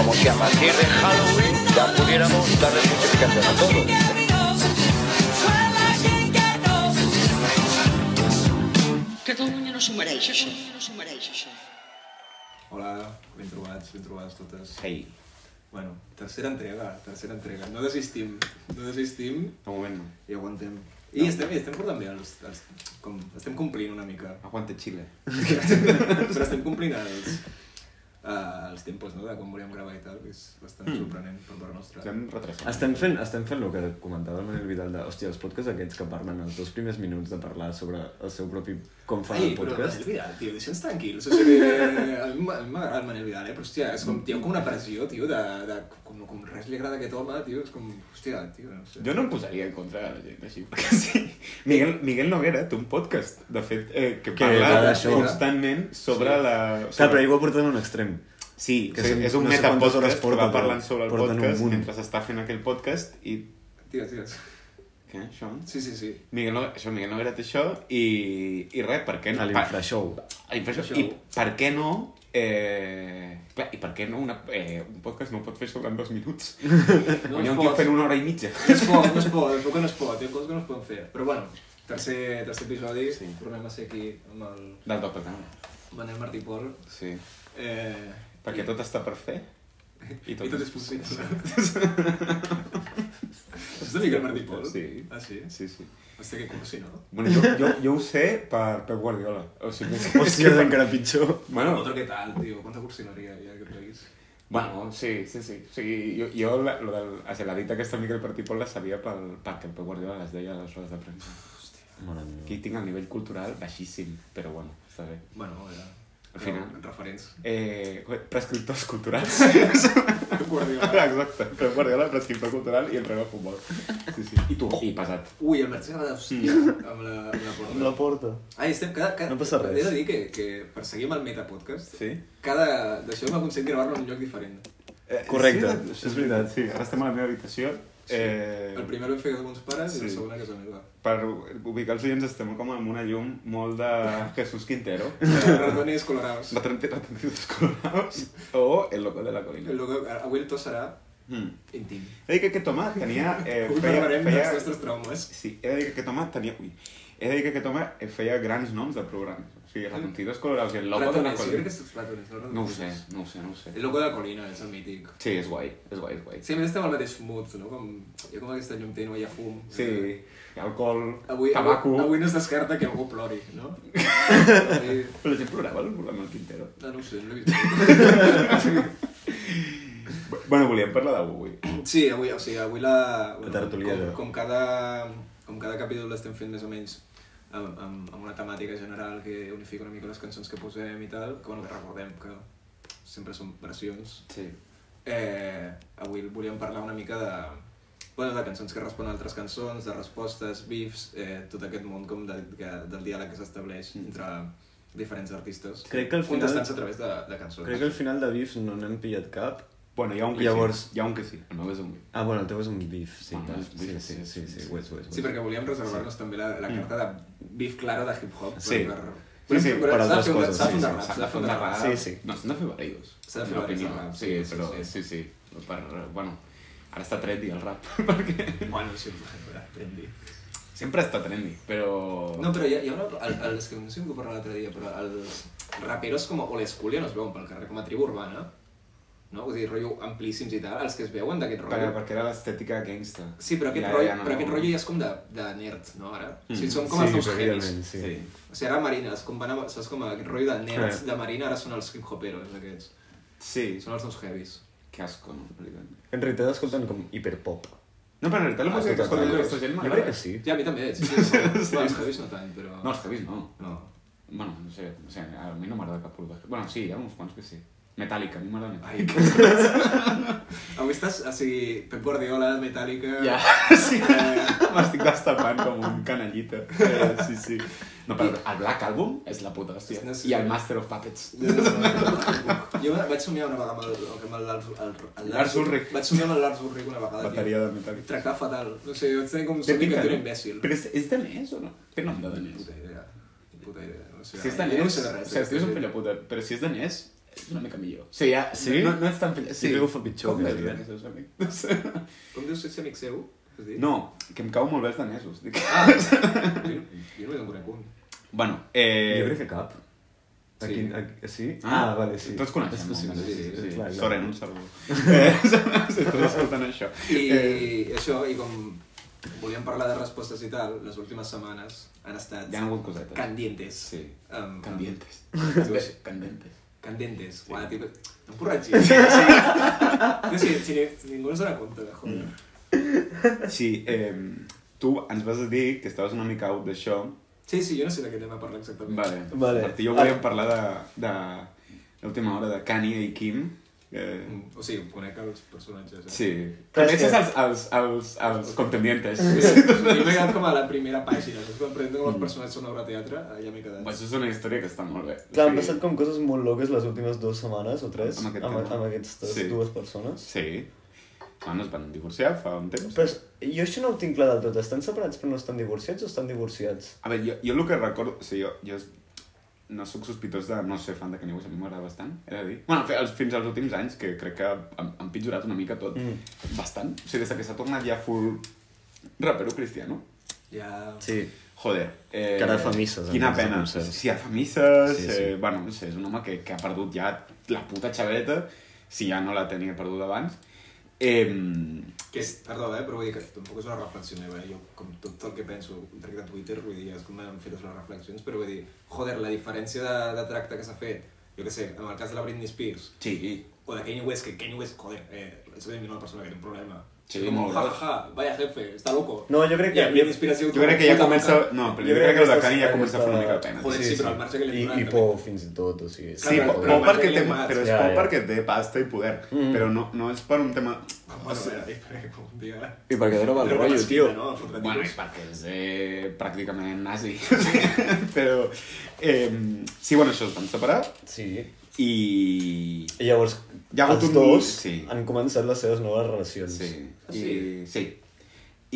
partir de Halloween ya pudiéramos darle justificación a todo. Catalunya no s'ho mereix, això. No s'ho mereix, això. Hola, ben trobats, ben trobades totes. Ei, Bueno, tercera entrega, tercera entrega. No desistim, no desistim de moment no. i aguantem. I estem, i estem portant bé, els, els, com, estem complint una mica. Aguante Xile. Però estem complint els, uh, els tempos, no?, de quan volíem gravar i tal, que és bastant sorprenent per part nostra. Mm. Estem retrasant. Estem fent, estem fent el que comentava el Manel Vidal de, hòstia, els podcasts aquests que parlen els dos primers minuts de parlar sobre el seu propi... com fan Ai, el però podcast. Manel Vidal, tio, deixa'ns tranquils. O sigui, a mi m'ha- a mi m'agrada el Manel Vidal, eh? Però, hòstia, és com, tio, com una pressió, tio, de, de com, com res li agrada a aquest home, tio, és com, hòstia, tio, no sé. Jo no em posaria en contra de la gent així, perquè sí. Miguel, Miguel Noguera té un podcast, de fet, eh, que parla parla d'això. eh? constantment sobre la... Sobre... Clar, però ell ho ha portat a un extrem. Sí, que o sigui, són- és un no sé quantes hores metapodcast que porta, va però parlant sobre el porten un podcast munt. mentre s'està fent aquell podcast i... Tio, tio. Què, això? Sí, sí, sí. Miguel, Noguera, això, Miguel Noguera té això i, i res, per què A no? l'infrashow. A l'infrashow. Això. I per què no... Eh, clar, i per què no una, eh, un podcast no ho pot fer sobre en dos minuts? No es Hi ha un pot. tio fent una hora i mitja. No es pot, no es pot, es veu que no es pot, hi ha coses que no es poden fer. Però bueno, tercer, tercer episodi, sí. Sí. tornem a ser aquí amb el Del Doctor Tango. Manel Martí Pol. Sí. Eh, Perquè tot està per fer. I tot és possible. És de Miquel Martí Pol? Sí. Ah, sí? Sí, sí. Hòstia, que cursi, no? Bueno, jo, jo, jo ho sé per Pep Guardiola. O sigui, és Hòstia, que- és encara pitjor. Bueno, Otro que tal, tio, quanta cursileria hi ha en aquest país. bueno, sí, sí, sí. O sigui, jo, jo la, lo del, o sigui, la dita aquesta Miquel Partipol la sabia pel, perquè el Pep Guardiola les deia a les rodes de premsa. Mare meva. Aquí tinc el nivell cultural baixíssim, però bueno, està bé. Bueno, era... Al final. Però, Referents. Eh, prescriptors culturals. Guardiola. Exacte. Pep Guardiola, prescriptor cultural i entrenador de futbol. Sí, sí. I tu, Oh, i pesat. Ui, el Martí s'ha hòstia, amb la, amb la porta. porta. Ai, estem cada... cada No passa res. He de dir que, que perseguim el metapodcast. Sí? Cada... D'això hem aconseguit gravar-lo en un lloc diferent. Eh, Correcte, Sí, és veritat. Sí, ara estem a la meva habitació. Eh, El primer el vam fer amb uns pares i el Sí. segon a casa meva. per ubicar els oients estem com amb una llum molt de Jesús Quintero, Ratones colorados. de 30 32 colorados, o El loco de la colina. Lo que, avui el ah, to serà Mm. íntim. He de dir que aquest home tenia... Eh, Avui feia, parlarem feia, dels nostres traumes. sí, he de dir que aquest home tenia... Ui, he de dir que aquest home eh, feia grans noms de programes. O sigui, els 22 colorados i el loco de la Hmm. Ratones, jo crec colina. que és ratones. ratones. No ho sé, no ho sé, no ho sé. El loco de la colina, és el mític. Sí, és guai, és guai, és guai. Sí, a més estem al mateix mood, no? Com, hi ha com aquesta llum tènua, hi ha fum. Sí, alcohol, Avui, tabaco... avui, avui no es descarta que algú plori, no? avui, Però la gent plorava el programa del Quintero. Ah, no, no ho sé, no l'he vist. Bueno, volíem parlar d'algú avui. Sí, avui, o sigui, avui la... Bueno, La tertúlia com, de- com, cada, com cada capítol l'estem fent més o menys amb, amb, amb una temàtica general que unifica una mica les cançons que posem i tal, que, bueno, que recordem que sempre són versions. Sí. Eh, avui volíem parlar una mica de, bueno, de cançons que responen a altres cançons, de respostes, bifs, eh, tot aquest món com de, que, del diàleg que s'estableix entre diferents artistes. Crec que al final- Contestant-se a través de, de cançons. Crec que al final de Beef no n'hem pillat cap. Bueno, hi ha un que Llavors- sí. Hi ha un que sí. El meu és un Ah, bueno, el teu és un Beef, sí. Ah, tal. és sí, beef, sí, sí, sí, sí, sí, sí. ho és, ho és. ho Sí, és. perquè volíem reservar-nos també la, Mm. la carta de Beef Claro de Hip Hop. Sí. Per, Sí, sí, per, per s'ha de altres fer un- coses, S'ha de fer sí, un sí, rap, s'ha de fer un rap. Sí, sí. No, s'han de fer varios. S'ha de fer En varios, opinió. el rap, Sí, sí, sí, sí, però sí. sí, sí. Per, bueno, ara està trendy el rap, perquè Bueno, sí, pues, per trendy. sempre està trendy, però... No, però hi ha, hi ha una... El, el, és que no sé com ho parlava l'altre dia, però els raperos com a old school ja no es veuen pel carrer, com a tribu urbana, no? Vull dir, rotllo amplíssims i tal, els que es veuen d'aquest Perquè, rotllo. perquè era l'estètica gangsta. Sí, però aquest, Ja, rotllo, ja no- Mm. però aquest rotllo ja és com de, de nerd, no, ara? O sigui, són com Sí, els nous heavies. evidentment, sí. Sí. O sigui, ara Marina, és com van a, saps com aquest rotllo de nerds Clar. de Marina, ara són els hip-hoperos aquests. Sí. Són els nous heavies. Que asco, no? En veritat. En realitat escolten com hiperpop. No, però en realitat la Ah, música que escolta, escolta no, aquesta gent Jo crec que sí. Ja, a mi també, sí, sí, sí. Bueno, els heavies no tant, però... No, els heavies no. no. Bueno, no sé, o sigui, a mi no m'agrada cap grup. de- Bueno, sí, hi ha uns quants que sí. Metallica, a mi m'agrada Ai, Metallica. Avui estàs, o sigui, Pep Guardiola, Metallica... Ja, sí. M'estic destapant com un canallita. Eh, sí, sí. No, però el Black Album és la puta, hòstia. No sé. I el Master of Puppets. Jo vaig somiar una vegada amb el, amb el, Lars- el, el Lars Ulrich. Vaig somiar amb el Lars Ulrich una vegada. Bateria de Metallica. Tio. Tractar fatal. No sé, vaig tenir com somiar que era imbècil. Però és, és danès o no? Té nom de danès. Puta idea. Puta idea. No sé, Si és jo no danès, sé de o res. sigui, el tio és un fill de puta, però si és danès, és una mica millor. O sigui, ja, Sí? no, no és tan fill... Jo crec que ho fa pitjor, Com fins més i tot. danès, els amics. Com dius que ets amic seu? Has dit? No, que em cau molt bé els danesos. Dic. Ah, jo, jo només en conec un. Bueno, Eh... eh... Jo crec que cap. Sí. Aquí, aquí, sí? Ah, vale, sí. Tots coneixem. És possible, home, sí, sí. sí, clar, clar. Soren, un saludo. Eh, si estàs escoltant això. I Eh, això, i com volíem parlar de respostes i tal, les últimes setmanes han estat hi ha hagut cosetes. candientes. Um, Sí. Amb- amb- Candientes. Dius, Candientes. Candentes. Guau, tipo... No em corregis. Sí. Sí, si, ni- ningú no se n'apunta, joder. Mm. Sí, eh, tu ens vas dir que estaves una mica out d'això. Sí, sí, jo no sé de què tema parlar exactament. Vale. Vale. Ah. Martí, jo volíem parlar de, de l'última hora de Kanye i Kim. Eh, Mm, O sigui, conec els personatges. Eh? sí. Però és Coneixes que- els, els, els, els contendientes. Jo m'he quedat com a la primera pàgina, saps? Quan presenten com els personatges són obra de teatre, eh, ja m'he quedat. Això és Mm. Pues una història que està molt bé. Clar, han Sí. passat com coses molt loques les últimes dues setmanes o tres Amb amb, aquest amb, tema. amb aquestes Sí. sí. dues persones. Sí. Ah, Bueno, es van divorciar fa un temps. Però és- jo això no ho tinc clar del tot. Estan separats però no estan divorciats o estan divorciats? A veure, jo, jo el que recordo... O sigui, jo, jo no sóc sospitós de no ser fan de Kanye West, a mi m'agrada bastant, he de dir. Bueno, fe- els, fins als últims anys, que crec que han, han pitjorat una mica tot, Mm. mm. bastant. O sigui, des de que s'ha tornat ja full rapero cristiano. Ja... Sí. Joder. Eh, Que ara fa misses, a Quina més de pena. concerts. Sí, ara fa misses. Sí, Sí, sí. sí. Eh, bueno, no sé, és un home que, que ha perdut ja la puta xaveta, si ja no la tenia perduda abans. Eh, Que és, perdó, eh, però vull dir que tampoc és una reflexió meva, eh? jo com tot el que penso crec que a Twitter, vull dir, és com m'han fet les reflexions, però vull dir, joder, la diferència de, de tracte que s'ha fet, jo què sé, en el cas de la Britney Spears, sí, o de Kanye West, que Kanye West, joder, eh, és evidentment una persona que té un problema. Sí, És com, molt ja, gros. ja, vaya jefe, està loco. No, jo crec I que... a mi l'inspiració... Jo crec que ja comença... No, però jo, crec que el de Kanye ja comença a fer fer una mica de pena. Joder, sí, però el marge que li I, han donat, i també. por, fins i tot, o sigui... Sí, Clar, por, però- por perquè té, però- però és ja, por ja. perquè té pasta i poder, Mm. però no, no és per un tema... Bueno, era, eh, com un dia... I perquè era Era una espina, no? Fotre tiros. Bueno, és perquè és eh, pràcticament nazi. però... Eh, sí, bueno, això es van separar Sí. i... I llavors, Hi ha hagut els un- dos sí. han començat les seves noves relacions. Sí. Ah, I, sí? sí.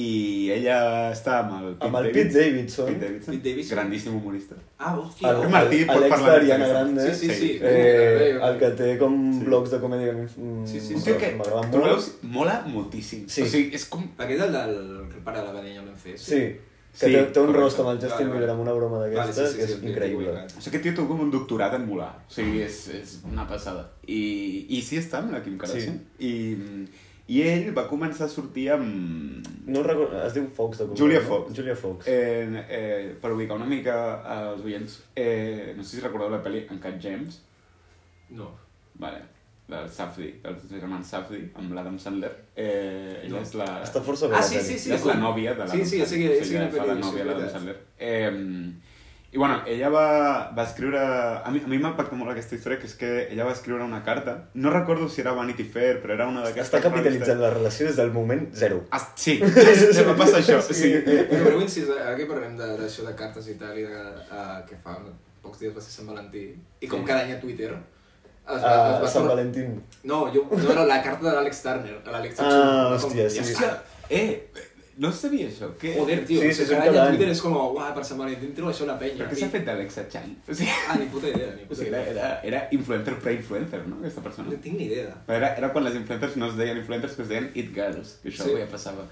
I ella està amb el Pete Amb el Davidson. Pete Davidson. Pete Davidson. Pete Davidson. Grandíssim humorista. Ah, hòstia, El- home, Martí, el- pot l'ex parlar d'Ariana d'aquesta. Grande. Sí, sí, sí. Sí. Eh, el que té com Sí. blocs de comèdia mm, Sí, sí, sí. Un tio que, m'agrada tu molt. veus, mola moltíssim. Sí. O sigui, és com... Aquest és el del el pare de la Benjamin Fes. Sí, que Sí, té, té un correcte. roast amb el Justin Vale, Bieber vale. amb una broma d'aquestes, que és increïble. O sigui, aquest tio té com un doctorat en molar. O sigui, és, és una passada. I, I sí està amb la Kim Kardashian. I, I ell va començar a sortir amb... No recordo, es diu Fox de cognom, Julia no? Fox. Julia Fox. Eh, eh, per ubicar una mica als oients, eh, no sé si recordeu la pel·li Uncut James, No. vale, del Safdie, dels germans Safdie, amb l'Adam Sandler. Eh, No. ella és la... Està força bé. Ah, la sí, peli. sí, sí. Sí, és la nòvia de la Sí, sí, ja sé que- ja sé quina ella fa pel·li la és, nòvia és de l'Adam veritat. Sandler. Eh, I bueno, ella va, va escriure... A mi, a mi m'impacta molt aquesta història, que és que ella va escriure una carta. No recordo si era Vanity Fair, però era una d'aquestes... Està capitalitzant la relació des del moment zero. Ah, sí, sí, va passar això. Sí. Sí. Sí. Però breu incís, ara que parlem de- d'això de, cartes i tal, i de, uh, que fa pocs dies va ser Sant Valentí, i com cada any a Twitter, es va, A es va Sant tornar- Ah, Valentín. No, jo, no era la carta de l'Àlex Turner, a l'Àlex Ah, Hutchinson, hòstia, com- sí. Hòstia, Eh, no sabia això. Què, Joder, tio, Sí, sí, sí, sí, sí, cada any cada a Twitter any. és com, uah, per Sant Valentí treu això una penya. Però què I- s'ha fet d'Alexa Chan? O sigui, Ah, ni puta idea, ni o puta sigui era, idea. era, era influencer pre-influencer, no? Aquesta persona. No tinc ni idea. Era, era quan les influencers no es deien influencers, que es deien it girls, que això Sí. sí. ja passava.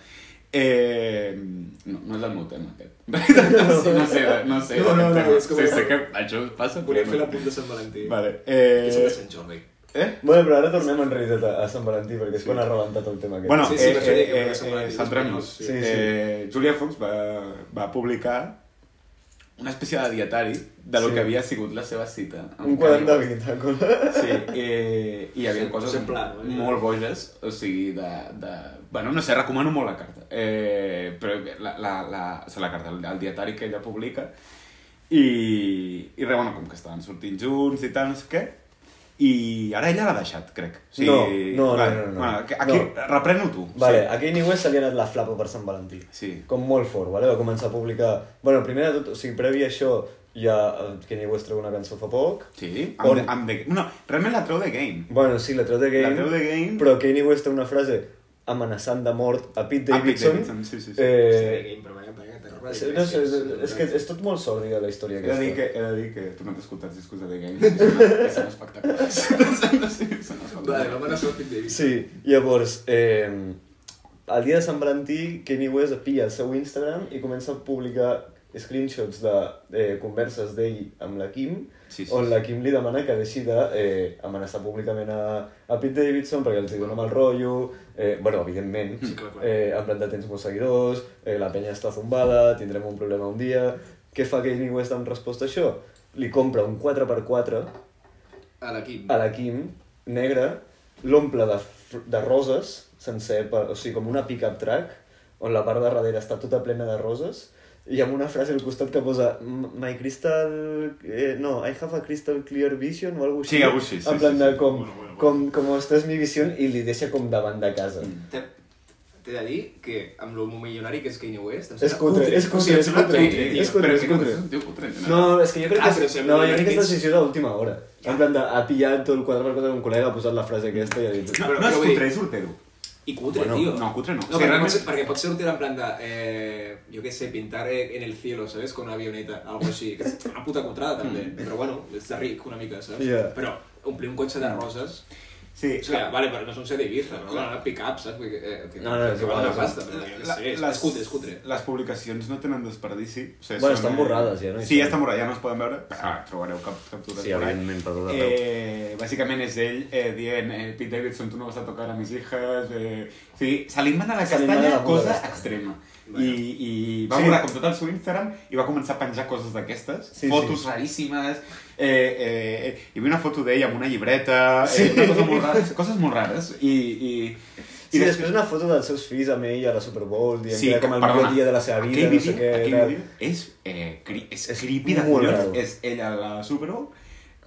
Eh, no, no és el meu tema, aquest. No, sé, no sé, no sé. No, no, no, aquest tema. és que sí, volia- sé que això passa. però Volia no. fer la punt de Sant Valentí. Vale. Jo soc de Eh, Sant Jordi. eh? Bueno, però ara tornem en realitat a, a Sant Valentí, perquè és quan ha rebentat el tema aquest. Bueno, Sí, sí, sí, sí, eh, per això dic que eh, va ser eh, molt eh, centrem-nos. Sí, sí. Eh, Julia Fox va, va publicar una espècie de dietari de lo Sí. que havia sigut la seva cita. amb un quadern de Kanye West. vida. Sí, eh, i hi havia Sí, coses potser en pla, no? molt boges, o sigui, de, de... Bueno, no sé, recomano molt la carta. Eh, però la, la, la, o sigui, la carta, el, el dietari que ella publica, i, i re, bueno, com que estaven sortint junts i tal, no sé què, i ara ella l'ha deixat, crec. O No, no, no, vale, no, no. Bueno, que- aquí, No. repreno tu. Vale, a Kanye West se li ha anat la flapa per Sant Valentí. Sí. sí. com molt fort, vale? va començar a publicar... bueno, primer de tot, o sigui, previ a això, ja eh, Kanye West treu una cançó fa poc. Sí, On- amb, the- amb the, no, realment la treu de game. bueno, sí, la treu de Game, La treu de Game. però Kanye West té una frase amenaçant de mort a Pete A Pete Davidson. Davidson, sí, sí, sí. Eh, Eh... Però, eh, perquè terror sí, no sé, és, és que és tot molt sòrdida la història He de aquesta. dir que, he de dir que tu no t'escoltes discos de The Game, que són- que són espectaculars. Sí, són Vale, espectaculars. vam anar a Pete Davidson. Sí, llavors, eh, el dia de Sant Valentí, Kanye West pilla el seu Instagram i comença a publicar screenshots de eh, converses d'ell amb la Kim, Sí, sí, on sí. la Kim li demana que deixi de eh, amenaçar públicament a, a Pete Davidson perquè els hi dona mal rotllo, eh, bueno, evidentment, Mm, Sí, clar, clar. eh, en plan de tens molts seguidors, eh, la penya està zumbada, tindrem un problema un dia... Què fa Kanye West en resposta a això? Li compra un 4x4 A l'equip. a la Kim, negra, l'omple de, fr- de roses, sencer, per, o sigui, com una pick-up track, on la part de darrere està tota plena de roses, i amb una frase al costat que posa "M- My crystal... Eh, no, I have a crystal clear vision o alguna cosa Sí, algo així, sí, en plan sí, de sí. com, Bueno, bueno, bueno. com, com esta és mi visió i li deixa com davant de casa. Mm. T'he t'he de dir que amb l'homo milionari que és Kanye West... em És sembla cutre, és O sigui, cutre, em és sembla cutre, cutre, tio. és cutre, Però és que no cutre. és un tio cutre, no? No, és que jo crec Ah, que, però és, sembla no, jo que crec que és tens- decisió d'última hora. En plan de, ha pillat tot el quadre per quadre d'un col·lega, ha posat la frase aquesta i ha dit... No, Però- no és però vull dir- cutre, és hortero. I cutre, Bueno, tio. no, cutre no. no O sigui, perquè, realment- realment... pot, perquè pot ser útil en plan de, eh, jo què sé, pintar eh, en el cielo, ¿sabes? Con una avioneta, algo així. Que és una puta contrada, també. Mm. Però bueno, és de ric una mica, saps? Yeah. Però omplir un cotxe de roses... Mm. Sí, O sigui, vale, però no és un set Ibiza, però bueno, pick-up, saps? Perquè, eh, que, No, no, és que val igual, una és pasta, però jo què sé, és, és cutre, és cutre. Les publicacions no tenen desperdici. O sigui, Bueno, estan borrades, ja, no hi Sí, ja són. estan borrades, ja no es poden veure. Ah, trobareu cap, captures Sí, por ahí. evidentment, per tot arreu. eh, bàsicament és ell eh, dient eh, Pete Davidson, tu no vas a tocar a mis hijas... Eh... O sigui, se li mana la Se li mana castanya la bola cosa d'estar. extrema. Bueno. I, I va Sí. sí. com tot el seu Instagram i va començar a penjar coses d'aquestes, Sí, fotos sí. raríssimes, eh, eh, eh, hi havia una foto d'ell amb una llibreta, eh, una cosa molt rara, coses molt rares. I, i, Sí, I després una foto dels seus fills amb ell a la Super Bowl, dient sí, que era com el perdona, millor dia de la seva vida, aquell no sé vídeo- què... Aquell Era... vídeo és, eh, cri, és, És creepy de molt collons. raro. És ell a la Super Bowl,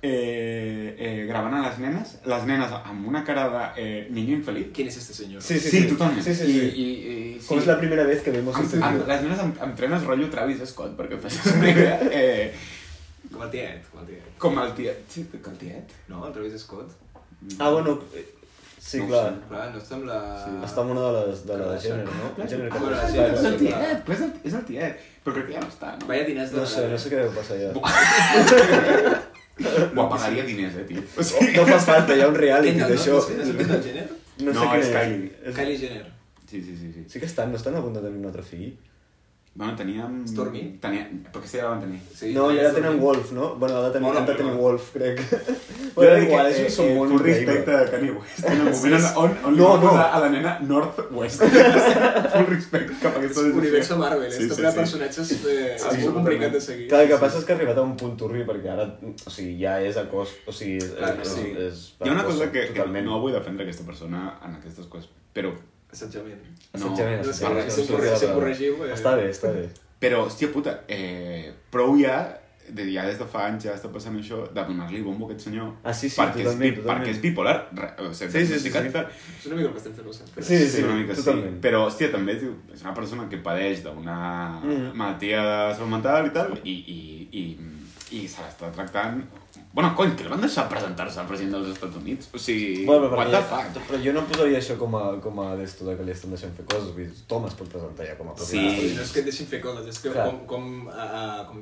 eh, eh, gravant a les nenes, les nenes amb una cara de eh, niño infeliç. Quin és este senyor? Sí, sí, sí, sí. totalment. Sí, sí, sí. I, i, i, sí. Com és la primera vez que vemos Amb, este amb, vídeo. les nenes amb, amb trenes rotllo Travis Scott, perquè facis una idea. Eh, Com el tiet, com el tiet. com el tiet. Sí, que el tiet? No, el Travis Scott. Ah, bueno, eh, sí, No ho clar. sé. Clar, no està amb la... Sí. Està en una de les, de la gènere, no? Clar, Gènere ah, que... bueno, sí, sí, és clar, el sí, clar. tiet, clar, és el, és el tiet. Però crec que ja no està, no? Vaya diners de No sé, no sé què deu passar ja. Ho apagaria diners, eh, tio. O sigui, No fa falta, hi ha un reality Kendall, d'això. no? És el Kendall Jenner? No sé No, què és és. Kylie. És- Kylie Jenner. Sí, sí, sí. sí. Sí que estan, no estan a punt de tenir un altre fill? Bueno, mm, teníem... Stormy? Tenia... Però aquesta ja la van tenir. Sí, No, i ara Travis tenen Scott. Wolf, no? Bueno, ara tenen, Mola, han de tenir mola. Wolf, crec. Bueno, Jo dic igual, que, és un eh, son molt full increïble. respecte a Kanye West. En el moment on, on, No, on li va no. posar a la nena Northwest. full respecte És cap a aquesta un decisió. univers a Marvel, eh? Sí, Està sí, ple de sí. personatges eh, Sí, és sí, molt complicat de seguir. Clar, el que passa és que ha arribat a un punt turri perquè ara, o sigui, ja és a cos, o sigui, és, Clar, és, Sí. és, és Hi ha una cosa que, que totalment no vull defendre aquesta persona en aquestes coses, però, Assetjament. no, Assetjament, no, assetjament, si- no si sé em corre- què si em era. corregiu, eh. Està bé, està bé. però hòstia puta, eh, prou ja, de, ja des de fa anys ja està passant això, de donar-li bombo a aquest senyor, Ah, sí, sí, perquè, totalment, és, bi- totalment. perquè és bipolar, re, o sigui, Sí, sí, sí, diagnosticat sí. per- És una mica el que estem fent nosaltres. Sí, Sí, sí, sí, una mica totalment. sí. Però, hòstia, també tio, és una persona que padeix d'una Mm. malaltia de salut mental i tal, i, i, i, i se l'està tractant... Bueno, cony, que el van deixar presentar-se al president dels Estats Units. O sigui, Bueno, però, what the fuck? perquè, però jo no posaria això com a, com a d'esto de que li estan deixant fer coses, vull dir, Tom es pot presentar ja com a Sí. propietari. Ah, pues, No és que et deixin fer coses, és que Clar. com, com, a, a, com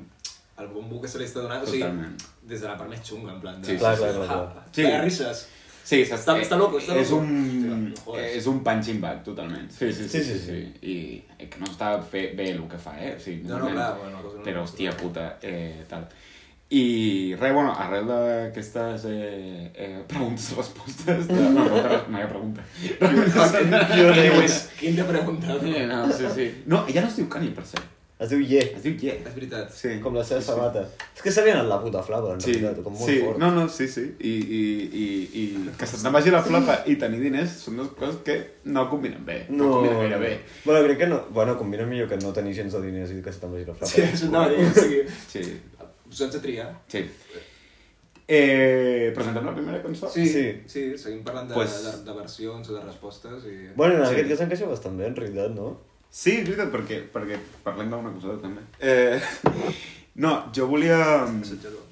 el bombo que se li està donant, o sigui, Totalment. des de la part més xunga, en plan de... Sí, sí, Clar, sí, clar, sí. clar, clar. Ah, Sí. Pega risses. Sí, Està- està loco, està és loco. Un, eh, Hòstia, joder. és un punching bag, totalment. Sí, sí, sí, sí, sí. I, i que no està fe, bé el que fa, eh? O sigui, No, no, normalment. clar, bueno, cosa no- Però, hòstia puta, eh, tal. I res, bueno, arrel d'aquestes eh, eh, preguntes i respostes... De... No, no, no, no hi ha pregunta. Kanye Anyways. West. Quin de preguntar. Eh, No, sí, sí. No, ja no es diu Kanye, per cert. Es diu Ye, Es diu Ye. És veritat. Sí. com la seva sabata. És que s'havien anat la puta flava, en Sí, realitat, com molt sí, fort. no, no, sí, sí. I, i, i, i que se't vagi la flapa i tenir diners són dues coses que no combinen bé. No, combinen gaire bé. Bueno, crec que no. Bueno, combina millor que no tenir gens de diners i que se te'n vagi la flapa. Sí, és una manera, o sigui, Sí, us hem de triar. sí. Eh, presentem la primera cançó? Sí. Sí, seguim parlant de, Pues- de, de versions o de respostes i... Bueno, en Sí. aquest cas encaixa bastant bé, en realitat, no? Sí, és veritat, perquè, perquè parlem d'una coseta també. Eh, no, jo volia... Assetjador.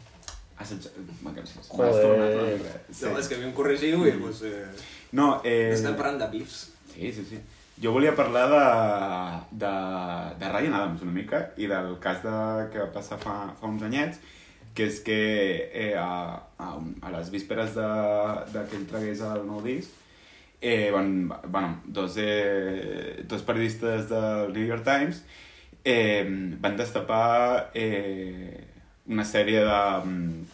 Assetjar... M'encanta. Joder. M'has tornat una mica. No, és Sí. que a mi em corregiu i, doncs, eh, No, eh... estem parlant de bifs. Sí, sí, sí. Jo volia parlar de, de, de Ryan Adams una mica i del cas de, que va passar fa, fa uns anyets, que és que eh, a, a, a les vísperes de, de que ell tragués el nou disc, eh, van, bueno, dos, eh, dos periodistes del New York Times eh, van destapar eh, una sèrie de mm,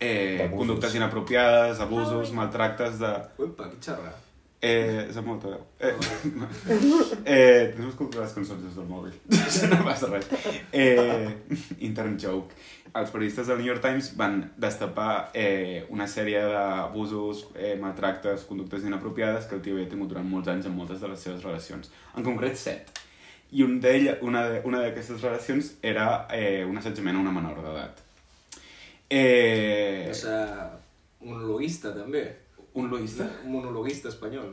eh, D'abusos. conductes inapropiades, abusos, maltractes de, Uepa, que xerra. Eh, és amb molta veu. Eh, eh, tenim que escoltar les cançons des del mòbil. no passa res. Eh, intern joke. Els periodistes del New York Times van destapar eh, una sèrie d'abusos, eh, maltractes, conductes inapropiades que el tio havia tingut durant molts anys en moltes de les seves relacions. En concret, set. I un d'ell, una, de- una d'aquestes relacions era eh, un assetjament a una menor d'edat. Eh, És eh, monologuista, també. un loista? Monologuista espanyol.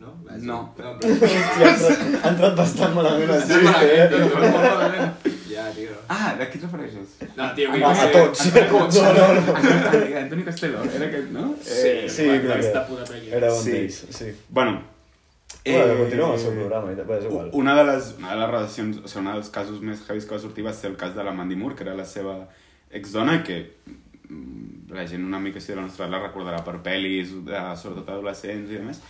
No? Vaja. no No. però... Hòstia, ha entrat- ha entrat bastant malament el Lluís, eh? Ja, tio. Ah, de qui et refereixes? No, tio, A, a tots. No, no, no. Antoni Antoni Costello, era aquest, no? Sí, sí, crec que Està posat allà. era un Eh, Sí. d'ells, sí. Bueno, Eh... Bueno, continuem el seu programa, i tal, però és igual. Una de les, una de les relacions, o sigui, un dels casos més heavies que va sortir va ser el cas de la Mandy Moore, que era la seva exdona, que mm, la gent una mica així de la nostra edat la recordarà per pel·lis, de, sobretot adolescents i demés.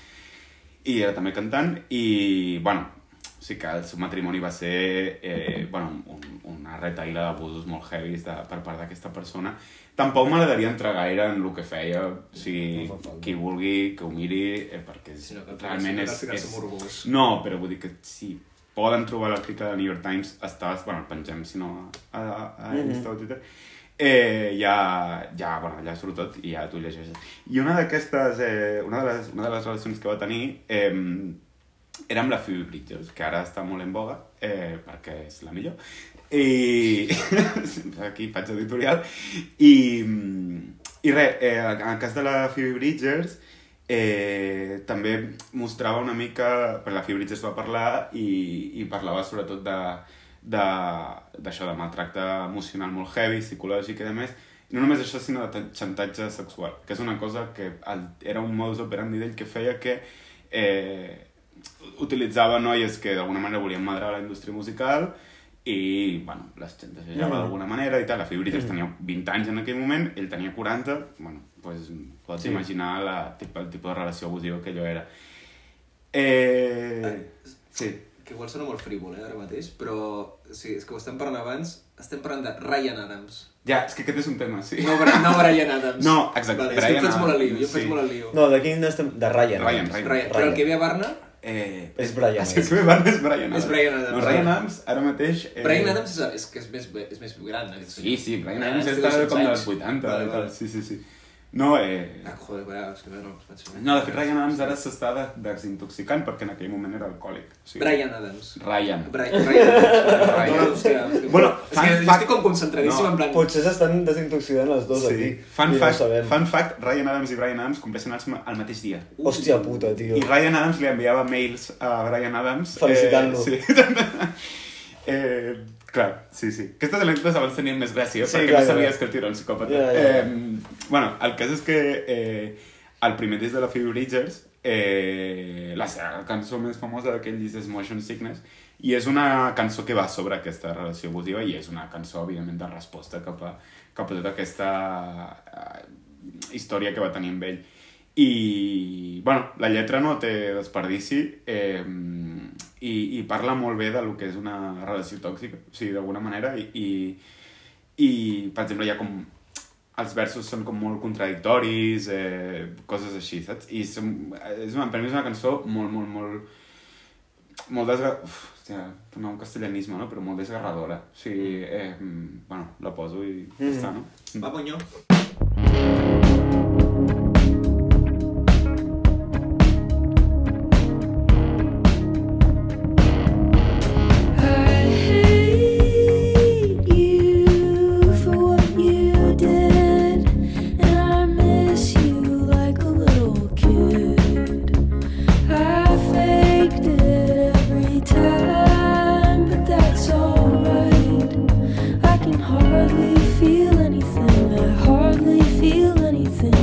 I era també cantant, i, bueno, o sigui que el seu matrimoni va ser eh, bueno, un, una retaïla d'abusos molt heavies de, per part d'aquesta persona. Tampoc m'agradaria entrar gaire en el que feia, o sigui, No fa falta. qui vulgui que ho miri, eh, perquè és, Si no, que realment és, ficar-se és, morbós. no, però vull dir que si poden trobar l'article del New York Times, està, bueno, el pengem, si no, a, a, a Mhm. Insta o Twitter, eh, ja, ja, bueno, allà surt tot i ja tu llegeixes. I una d'aquestes, eh, una, de les, una de les relacions que va tenir eh, era amb la Phoebe Bridgers, que ara està molt en boga, eh, perquè és la millor, i aquí faig editorial, i, i res, eh, en el cas de la Phoebe Bridgers, eh, també mostrava una mica, per la Phoebe Bridgers va parlar i, i parlava sobretot de de- d'això, de, de maltracte emocional molt heavy, psicològic i de més, I no només això, sinó de ta- xantatge sexual, que és una cosa que el, era un modus operandi d'ell que feia que eh, utilitzava noies que d'alguna manera volien madrar la indústria musical i, bueno, les xantatejava Mm. d'alguna manera i tal. La Phoebe Bridgers tenia 20 anys en aquell moment, ell tenia 40, bueno, pues, pots Sí. imaginar la, tip- el tipus de relació abusiva que allò era. Eh... Sí. Ah, que igual sona molt frívol, eh, ara mateix, però sí, és que ho estem parlant abans, estem parlant de Ryan Adams. Ja, és que aquest és un tema, sí. No, Bra- no Brian Adams. No, exacte, Vale, és que Bryan em fas molt al lío, jo em Adams, fas sí. molt al lío. No, de quin estem... De Ryan. Ryan, doncs. Ryan. Ryan, però el que ve a Barna, Eh... És Brian. Ah, sí, és que Brian és Brian Adams. És Brian Adams. No, Brian Adams, ara mateix... Eh... Brian Adams és, és que és més, ve- és més gran. Aquest Sí, sí, Brian Ah, Adams és de està 200 com dels anys. 80. Vale, tal, vale. Sí, sí, sí. No, eh... Ah, joder, vaja, és que no, vaig fer- No, de fet, Ryan Adams ara s'està de- desintoxicant perquè en aquell moment era alcohòlic. O sigui, Brian Adams. Ryan. Brian, Brian Adams. Brian. No, no, hòstia, és que- Bueno, és fun que jo fact- estic com concentradíssim No, en plan... Potser s'estan desintoxicant els dos aquí. i Fun, no ho fact, sabem. fun fact, Ryan Adams i Brian Adams compleixen el, el mateix dia. Hòstia puta, tio. I Ryan Adams li enviava mails a Brian Adams. Felicitant-lo. Eh, sí. eh, clar, sí, sí. Aquestes anècdotes abans tenien més gràcia, Sí, sí, perquè clar, no sabies clar. que el tio era un psicòpata. Ja, ja, ja. Eh, bueno, el cas és que eh, el primer disc de la Phoebe Bridgers, eh, la seva cançó més famosa d'aquell disc és Motion Sickness, i és una cançó que va sobre aquesta relació abusiva i és una cançó, evidentment, de resposta cap a, cap a tota aquesta eh, història que va tenir amb ell. I, bueno, la lletra no té desperdici eh, i, i parla molt bé de lo que és una relació tòxica, o sigui, d'alguna manera, i, i, i, per exemple, hi ha com... Els versos són com molt contradictoris, eh, coses així, saps? I som, és una, per mi és una cançó molt, molt, molt... Molt desga... Uf, hòstia, tornar a un castellanisme, no? Però molt desgarradora. O sigui, eh, bueno, la poso i ja Mm. està, no? Va, punyó. I hate you for what you did, and I miss you like a little kid. I faked it every time, but that's alright. I can hardly feel anything. I hardly feel anything.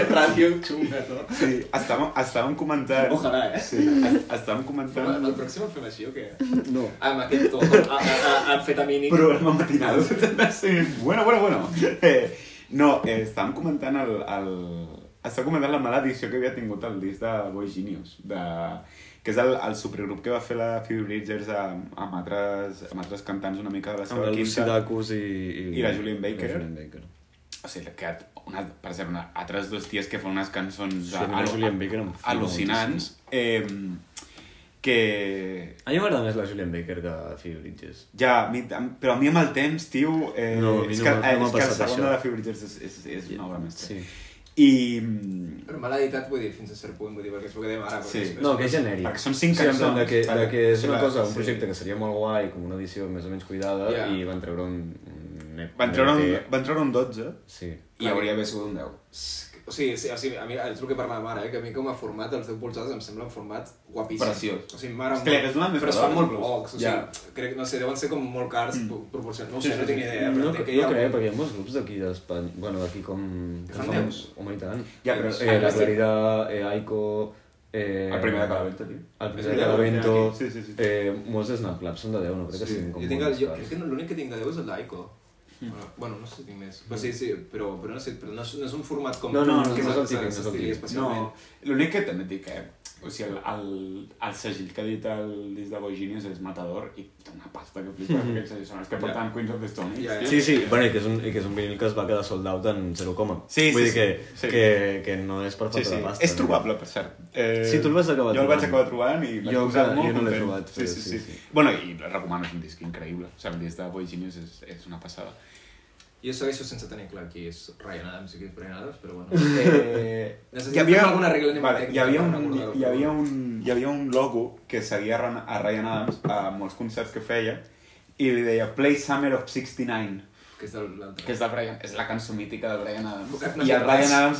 relació xunga, no? Sí, estàvem, estàvem comentant... Ojalà, eh? Sí, est- estàvem Però en comentant... el pròxim el fem així o què? No. Amb aquest to, a- a- a- amfetamínic. Programa matinal. Sí, bueno, bueno, bueno. Eh, no, eh, estàvem comentant el, el... Estàvem comentant la mala edició que havia tingut el disc de Boy Genius, de... que és el, el supergrup que va fer la Phoebe Bridgers amb, amb, altres, amb altres cantants una mica de la Amb seva la Lucy quinta. Dacus i, i... I la Julian Baker. La Julian Baker. O sigui, que una, per ser una, altres dos ties que fan unes cançons Sí, a mi la Julian Baker em flipa al·lucinants, eh, que A mi m'agrada més la Julian Baker que la Phoebe Bridges. Ja, a mi, a- però a mi amb el temps, tio... Eh, No, a mi és no que, m'ha- no eh, m'ha és que el passat segon això. de la Phoebe Bridgers és, és, és una obra mestra. Sí. I... Però mal editat, vull dir, fins a cert punt, vull dir, perquè és el que dèiem ara. perquè Sí. després- No, que és genèric. Perquè Ah, són cinc sí, en plan cançons, De que, vale. de que és Sí, una la- cosa, un sí. projecte que seria molt guai, com una edició més o menys cuidada, Ja. i van treure un... un E EP. Van treure, un, van treure un 12 Sí. eh? i hauria d'haver sigut un 10. O sigui, sí, o sigui, a mi és el que parlàvem ara, eh? que a mi com a format, els 10 polzades em sembla un format guapíssim. Preciós. O sigui, m'agrada És que és una molt, més però es fan barata, molt inclús. pocs. O sigui, Ja. crec, no sé, deuen ser com molt cars mm. proporcionats. No ho sé, Sí, sí, no tinc sí. ni idea. No, no, Però crec, entenc que hi ha algun- perquè hi ha molts grups d'aquí d'Espanya, bueno, d'aquí com... Que que fan fan- demos. Home, i tant. Ja, però- eh, la Claridad, eh, Aiko... Eh, El primer de Calavento, tio. El És primer el de de Calavento. aquí. Sí, sí, sí. Eh, molts de Snap Club són de 10, no crec que siguin com jo tinc el, molts jo, cars. crec que no- l'únic que tinc de 10 és el d'Aiko. Bueno, bueno, no sé si tinc més. Però sí, sí, però, però no sé, però no és, no és un format com... No, no, no, que no és s'ha- el s'ha- típic, no és el s'estili típic. especialment. No, l'únic que també et dic, eh? O sigui, el, el, el segell que ha dit el disc de Boy Genius és Matador i té una pasta que flipa, Mm-hmm. mm -hmm. són els que porten Queens of the Stone Age, Ja, ja. tio. Sí, sí, bueno, i que és un, i que és un vinil que es va quedar sold out en 0, Sí, Vull sí, dir que, sí, sí. que, que no és per falta Sí, sí. de pasta. És no? trobable, per cert. Eh, Sí, tu el vas acabar jo el trobant. vaig acabar trobant i vaig Jo posar encara- molt jo no l'he content. trobat, Sí, però sí, sí, sí, sí, sí. Bueno, i el recomano, és un disc increïble. O sigui, el disc de Boy Genius és, és una passada. Jo segueixo sense tenir clar qui és Ryan Adams i qui és Brian Adams, però bueno. Eh, Necessitem fer alguna regla mnemotècnica vale, hi, havia per un, recordar-ho. hi, havia un, hi havia un logo que seguia a Ran- a Ryan Adams a molts concerts que feia i li deia Play Summer of 69 Que és del- l'altre. que és, de Brian, és la cançó mítica de Brian Adams. No I sé el res. Brian Adams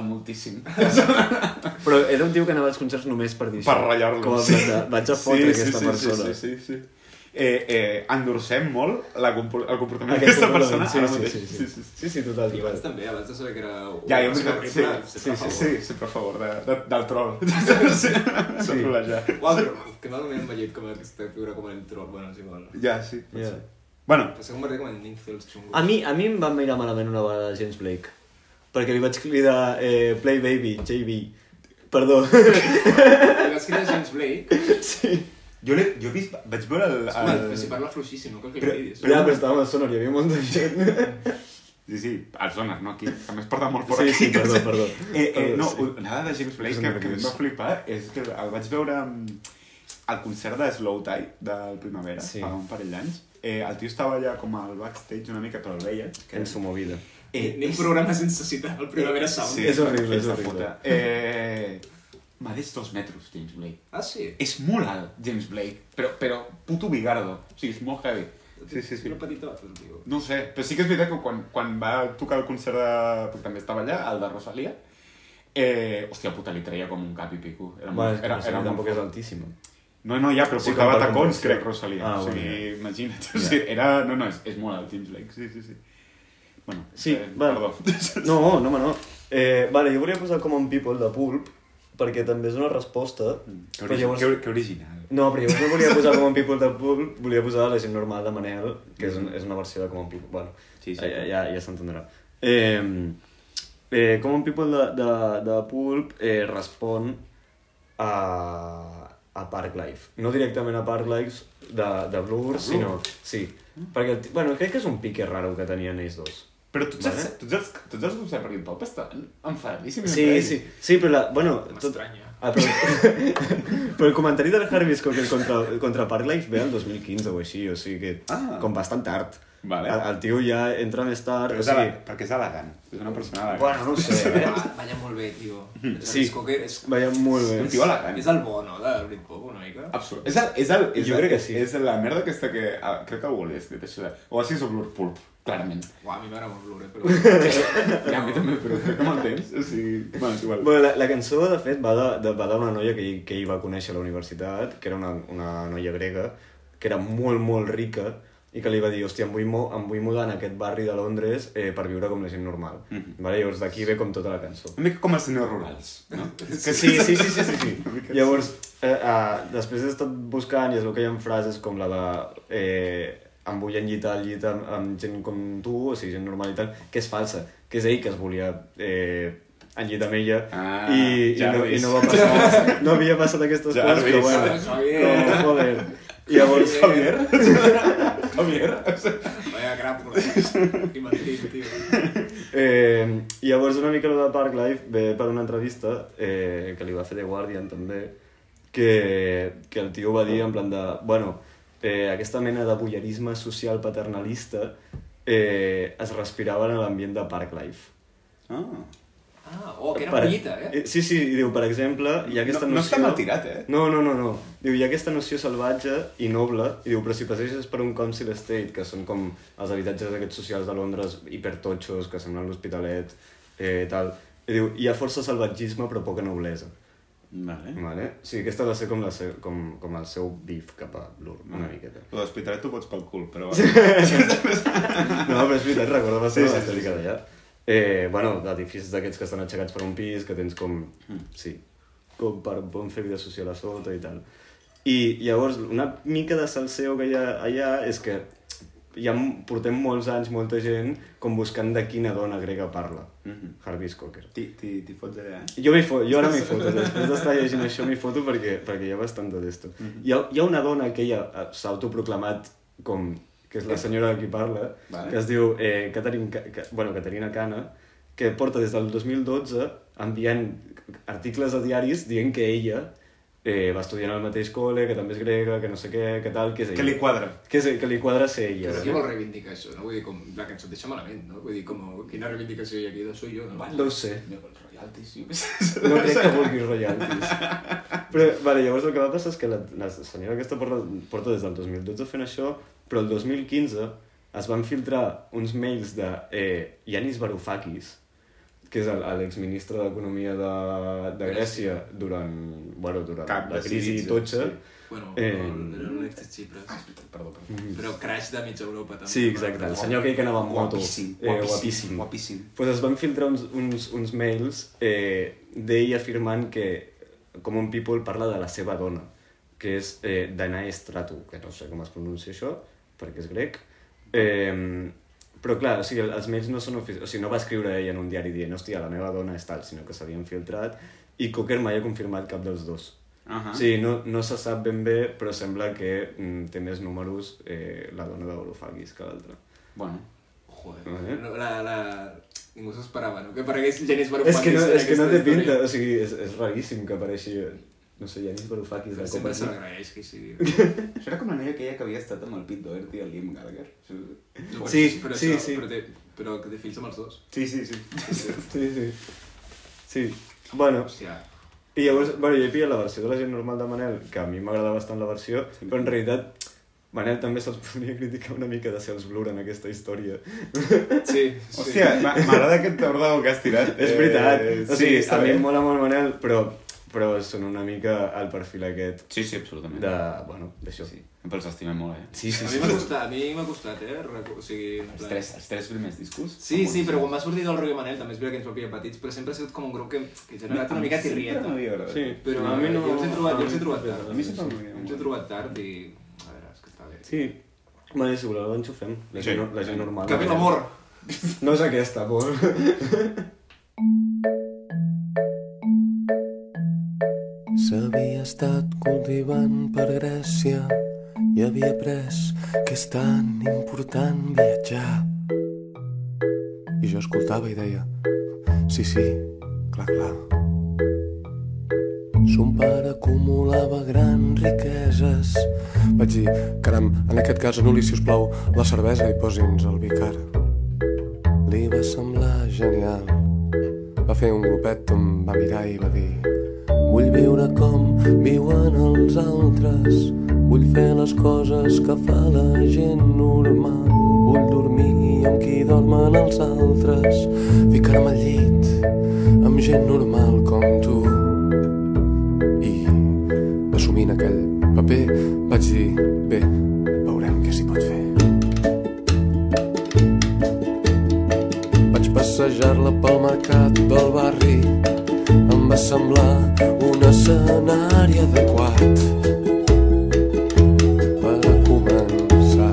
moltíssim. Però era un tio que anava als concerts només per dir per això. ratllar-lo. Com a sí. plan de, vaig a fotre aquesta sí, persona. Sí, sí, sí. sí. Eh, eh, endorsem molt la, compo- el comportament Aquest d'aquesta completament, persona ah, sí, ara sí, mateix. sí, sí. Sí, sí, total, I abans total. també, abans de saber que era... un- Ja, jo m'he una quedat... Sí, horrible, sí, sempre a sí, favor. sí, sempre a favor de, de, del troll. Sí, sí. trolejar. Uau, però que malament m'ha llit com aquesta figura com el troll, bueno, és igual. Pues Ja, sí. pot Ja. ser. Bueno, S'ha convertit com en ninf dels xungos. A mi, a mi em van mirar malament una vegada James Blake. Perquè li vaig cridar eh, Play Baby, JB. Perdó. I vas cridar James Blake, sí. jo, l'he- jo he vist, vaig veure el... Home, però el... si parla fluixíssim, no cal que Però- li cridis. Però ja, però estàvem al sonar, hi havia molta gent. Sí, sí, al Sonar, no aquí. A més porta molt fort Sí, sí, aquí. perdó, no sé. perdó. Eh, eh, Perdó, no, sí. nada de James Blake Posa'm que, que em va nerviós. flipar és que el vaig veure mm, al concert de Slow Tie del Primavera, Sí. fa un parell d'anys. Eh, el tio estava allà com al backstage una mica, però el veia. En su movida. Eh, Anem programa sense citar el Primavera Sound. Sí. És horrible, és de horrible. puta. Eh, Medeix dos metres, James Blake. Ah, sí? És molt alt, James Blake, però, però puto bigardo. O sigui, és molt heavy. Sí, sí, sí. Era petitot, el tio. No ho sé, però sí que és veritat que quan, quan va tocar el concert de... Perquè també estava allà, el de Rosalia, eh, hòstia puta, li treia com un cap i pico. Era Bueno, és molt, que era, no sé, era molt tampoc és fort. altíssima. No, no, ja, però Sí, sí, com portava per tacons, comparació. crec, Rosalia. Ah, Ah, o sigui, bueno, ja. imagina't. Ja. O sigui, era... No, no, és, és molt alt, James Blake, sí, sí, sí. Bueno, Sí, eh, va. perdó. No, no, home, no. Eh, vale, jo volia posar Common People de Pulp, perquè també és una resposta. Mm, Que, origi llavors... que, que original. No, però llavors no volia posar Common People de Pulp, volia posar La gent normal de Manel, que és, un, és una versió de Common People. Bueno, Mm. Sí, sí. ja, ja, ja s'entendrà. Eh, eh, Common People de, de, de Pulp eh, respon a, a Park Life. No directament a Park Life de, de Blur, Uh. sinó... Sí, perquè, el ti- bueno, crec que és un pique raro que tenien ells dos. Però tots, vale. els, Vale. tots, els, tots els grups de Rock and Pop estan enfadadíssims. entre Sí, ells. sí, sí, però la, bueno... M'estranya. Ah, però, però el comentari del Harvey Scocker contra, contra Parklife ve el 2015 o així, o sigui que Ah. com bastant tard. Vale. El, el tio ja entra més tard, Però o és ele... sigui... perquè és elegant. És una persona elegant. Bueno, no ho sé, eh? Ah, Balla molt bé, tio. Sí. És que és... Veiem molt És un bé. tio elegant. És el bo, no?, del Britpop, una mica. Absolut. És el, és el, és Jo el, crec que sí. És la merda aquesta que... ah, crec que algú li has dit això de... O així és un blur pulp, clarament. Uau, a mi m'agrada molt l'Ure, però... Ja, a mi també, però crec que m'entens. O sigui, bueno, és igual. Bueno, la, la cançó, de fet, va de- de- va d'una noia que ell, que ell va conèixer a la universitat, que era una, una noia grega, que era molt, molt rica, i que li va dir, hòstia, em vull, mo em vull mudar en aquest barri de Londres eh, per viure com la gent normal. Mhm. vale? Llavors d'aquí ve com tota la cançó. Una mica com els senyors rurals, no? Que sí, sí, sí, sí, sí. sí. Una mica Llavors, eh, eh, després he estat buscant i es veu que hi ha frases com la de... Eh, em vull enllitar al llit amb, amb gent com tu, o sigui, gent normal i tal, que és falsa, que és ell que es volia eh, enllitar amb ella Ah, i, i, no, i Jarvis. no va passar, no havia passat aquestes coses, però Jarvis. bueno, Javier. com, joder. Llavors, Javier? Javier? Vaya cràpula. Que mentint, tio. Eh, llavors una mica lo de Parklife ve per una entrevista eh, que li va fer The Guardian també que, que el tio va dir en plan de bueno, eh, aquesta mena de bullerisme social paternalista eh, es respirava en l'ambient de Parklife Ah. Ah, oh, que era pollita, eh? Sí, sí, i diu, per exemple, hi ha aquesta No- no noció... està mal tirat, eh? No, no, no, no. Diu, hi ha aquesta noció salvatge i noble, i diu, però si passeges per un council estate, que són com els habitatges aquests socials de Londres, hipertotxos, que semblen l'Hospitalet, eh, tal... I diu, hi ha força salvatgisme però poca noblesa. Vale. Vale? O sigui, aquesta va ser com, la seu, com, com el seu bif cap a l'ur, una miqueta. Lo d'hospitalet t'ho pots pel cul, però... Bueno. No, però és veritat, recorda la seva Sí, sí, sí, sí, sí. d'allà. Eh, bueno, d'edificis d'aquests que estan aixecats per un pis, que tens com... Mm. Sí, com per bon fer vida social a sota i tal. I llavors, una mica de salseo que hi ha allà és que ja m- portem molts anys, molta gent, com buscant de quina dona grega parla. Mhm. Harvey Skoker. T'hi- T'hi t'hi fots allà, eh? Jo, m'hi fo- jo ara m'hi foto, després d'estar llegint això m'hi foto perquè, perquè hi ha bastant de d'esto. Mhm. Hi, ha, hi ha una dona que ella eh, s'ha autoproclamat com que és la senyora de qui parla, Eh. Vale. vale. que es diu eh, Catherine, Ca, Ca- bueno, Caterina Cana, que porta des del 2012 enviant articles a diaris dient que ella eh, va estudiar en el mateix col·le, que també és grega, que no sé què, que tal, que és ella. Que li quadra. que, és, que li quadra ser ella. Però qui vol reivindicar això, no? Vull dir, com, la cançó et deixa malament, no? Vull dir, com, quina reivindicació hi ha aquí de soy yo, no? No ho sé. Jo, els royalties, jo què sé. No crec que vulguis royalties. Però, vale, llavors el que va passar és que la, la senyora aquesta porta, porta des del 2012 fent això, però el 2015 es van filtrar uns mails de eh, Yanis Varoufakis, que és el- l'exministre d'Economia de, de Grècia durant, bueno, durant Cap la de crisi Syriza, totxa. sí. Ah, Bueno, Eh. Mm. eh... era un ex de Xipres. Perdó, perdó. Però crash de mitja Europa, també. Sí, exacte. El senyor aquell que anava amb moto. Guapíssim, Eh, guapíssim, guapíssim. guapíssim. Pues es van filtrar uns, uns, uns mails eh, d'ell afirmant que Common People parla de la seva dona, que és eh, Danae Stratou, que no sé com es pronuncia això, perquè és grec. Eh, però clar, o sigui, els mails no són oficials, o sigui, no va escriure ella en un diari dient, hòstia, la meva dona és tal, sinó que s'havien filtrat, i Cocker mai ha confirmat cap dels dos. Ahà. Sí, no, no se sap ben bé, però sembla que mm, té més números eh, la dona d'Orofagis que l'altra. Bueno. Eh? Joder, no, la, la... Ningú s'esperava, no? Que aparegués Janis Varoufakis. És que no, en és que no té aquesta història. pinta, o sigui, és, és raríssim que apareixi, no sé, Janis Varoufakis de cop. Sempre se aquí. l'agraeix que sigui. Això era com la noia aquella que havia estat amb el Pete Doherty i el Liam Gallagher. No, però, Sí, però sí, això, sí. Però, té, però que té fills amb els dos. Sí, sí, sí. Sí, sí. Sí. Bueno, Hòstia, i llavors, bueno, jo he pillat la versió de la gent normal de Manel, que a mi m'agrada bastant la versió, però en realitat Manel també se'ls podria criticar una mica de ser els Blur en aquesta història. Sí, Hòstia, sí. m'a- m'agrada aquest tordo que has tirat. és veritat. Eh, o sigui, està a mi bé. em mola molt Manel, però, però són una mica el perfil aquest Sí, sí, absolutament. de, bueno, d'això. Sí, però els estimem molt, eh? sí, A mi m'ha costat, a mi m'ha costat, eh? Recu- O sigui, en Els plan- tres, els tres primers discos. Sí, sí, però quan va sortir del Roger Manel, també és veritat que ens va pillar petits, però sempre ha sigut com un grup que, que ha generat una mica tirrieta. Sí, Però a mi no... jo els he trobat- jo els he no, trobat no, tard. no, A mi no, sempre no. m'agrada Ens he trobat tard i... A veure, és que està bé. Sí. Vale, si voleu l'enxufem. La, gent, Sí. la gent normal. Que ve l'amor! No és aquesta, por. S'havia estat cultivant per Grècia i havia après que és tan important viatjar. I jo escoltava i deia, sí, sí, clar, clar. Son pare acumulava grans riqueses. Vaig dir, caram, en aquest cas anul·li, si us plau, la cervesa i posi'ns el vi car. Li va semblar genial. Va fer un grupet on va mirar i va dir Vull viure com viuen els altres Vull fer les coses que fa la gent normal Vull dormir amb qui dormen els altres Ficar-me al llit amb gent normal com tu I assumint aquell paper vaig dir Bé, veurem què s'hi pot fer passejar-la pel mercat del barri em va semblar un escenari adequat per començar.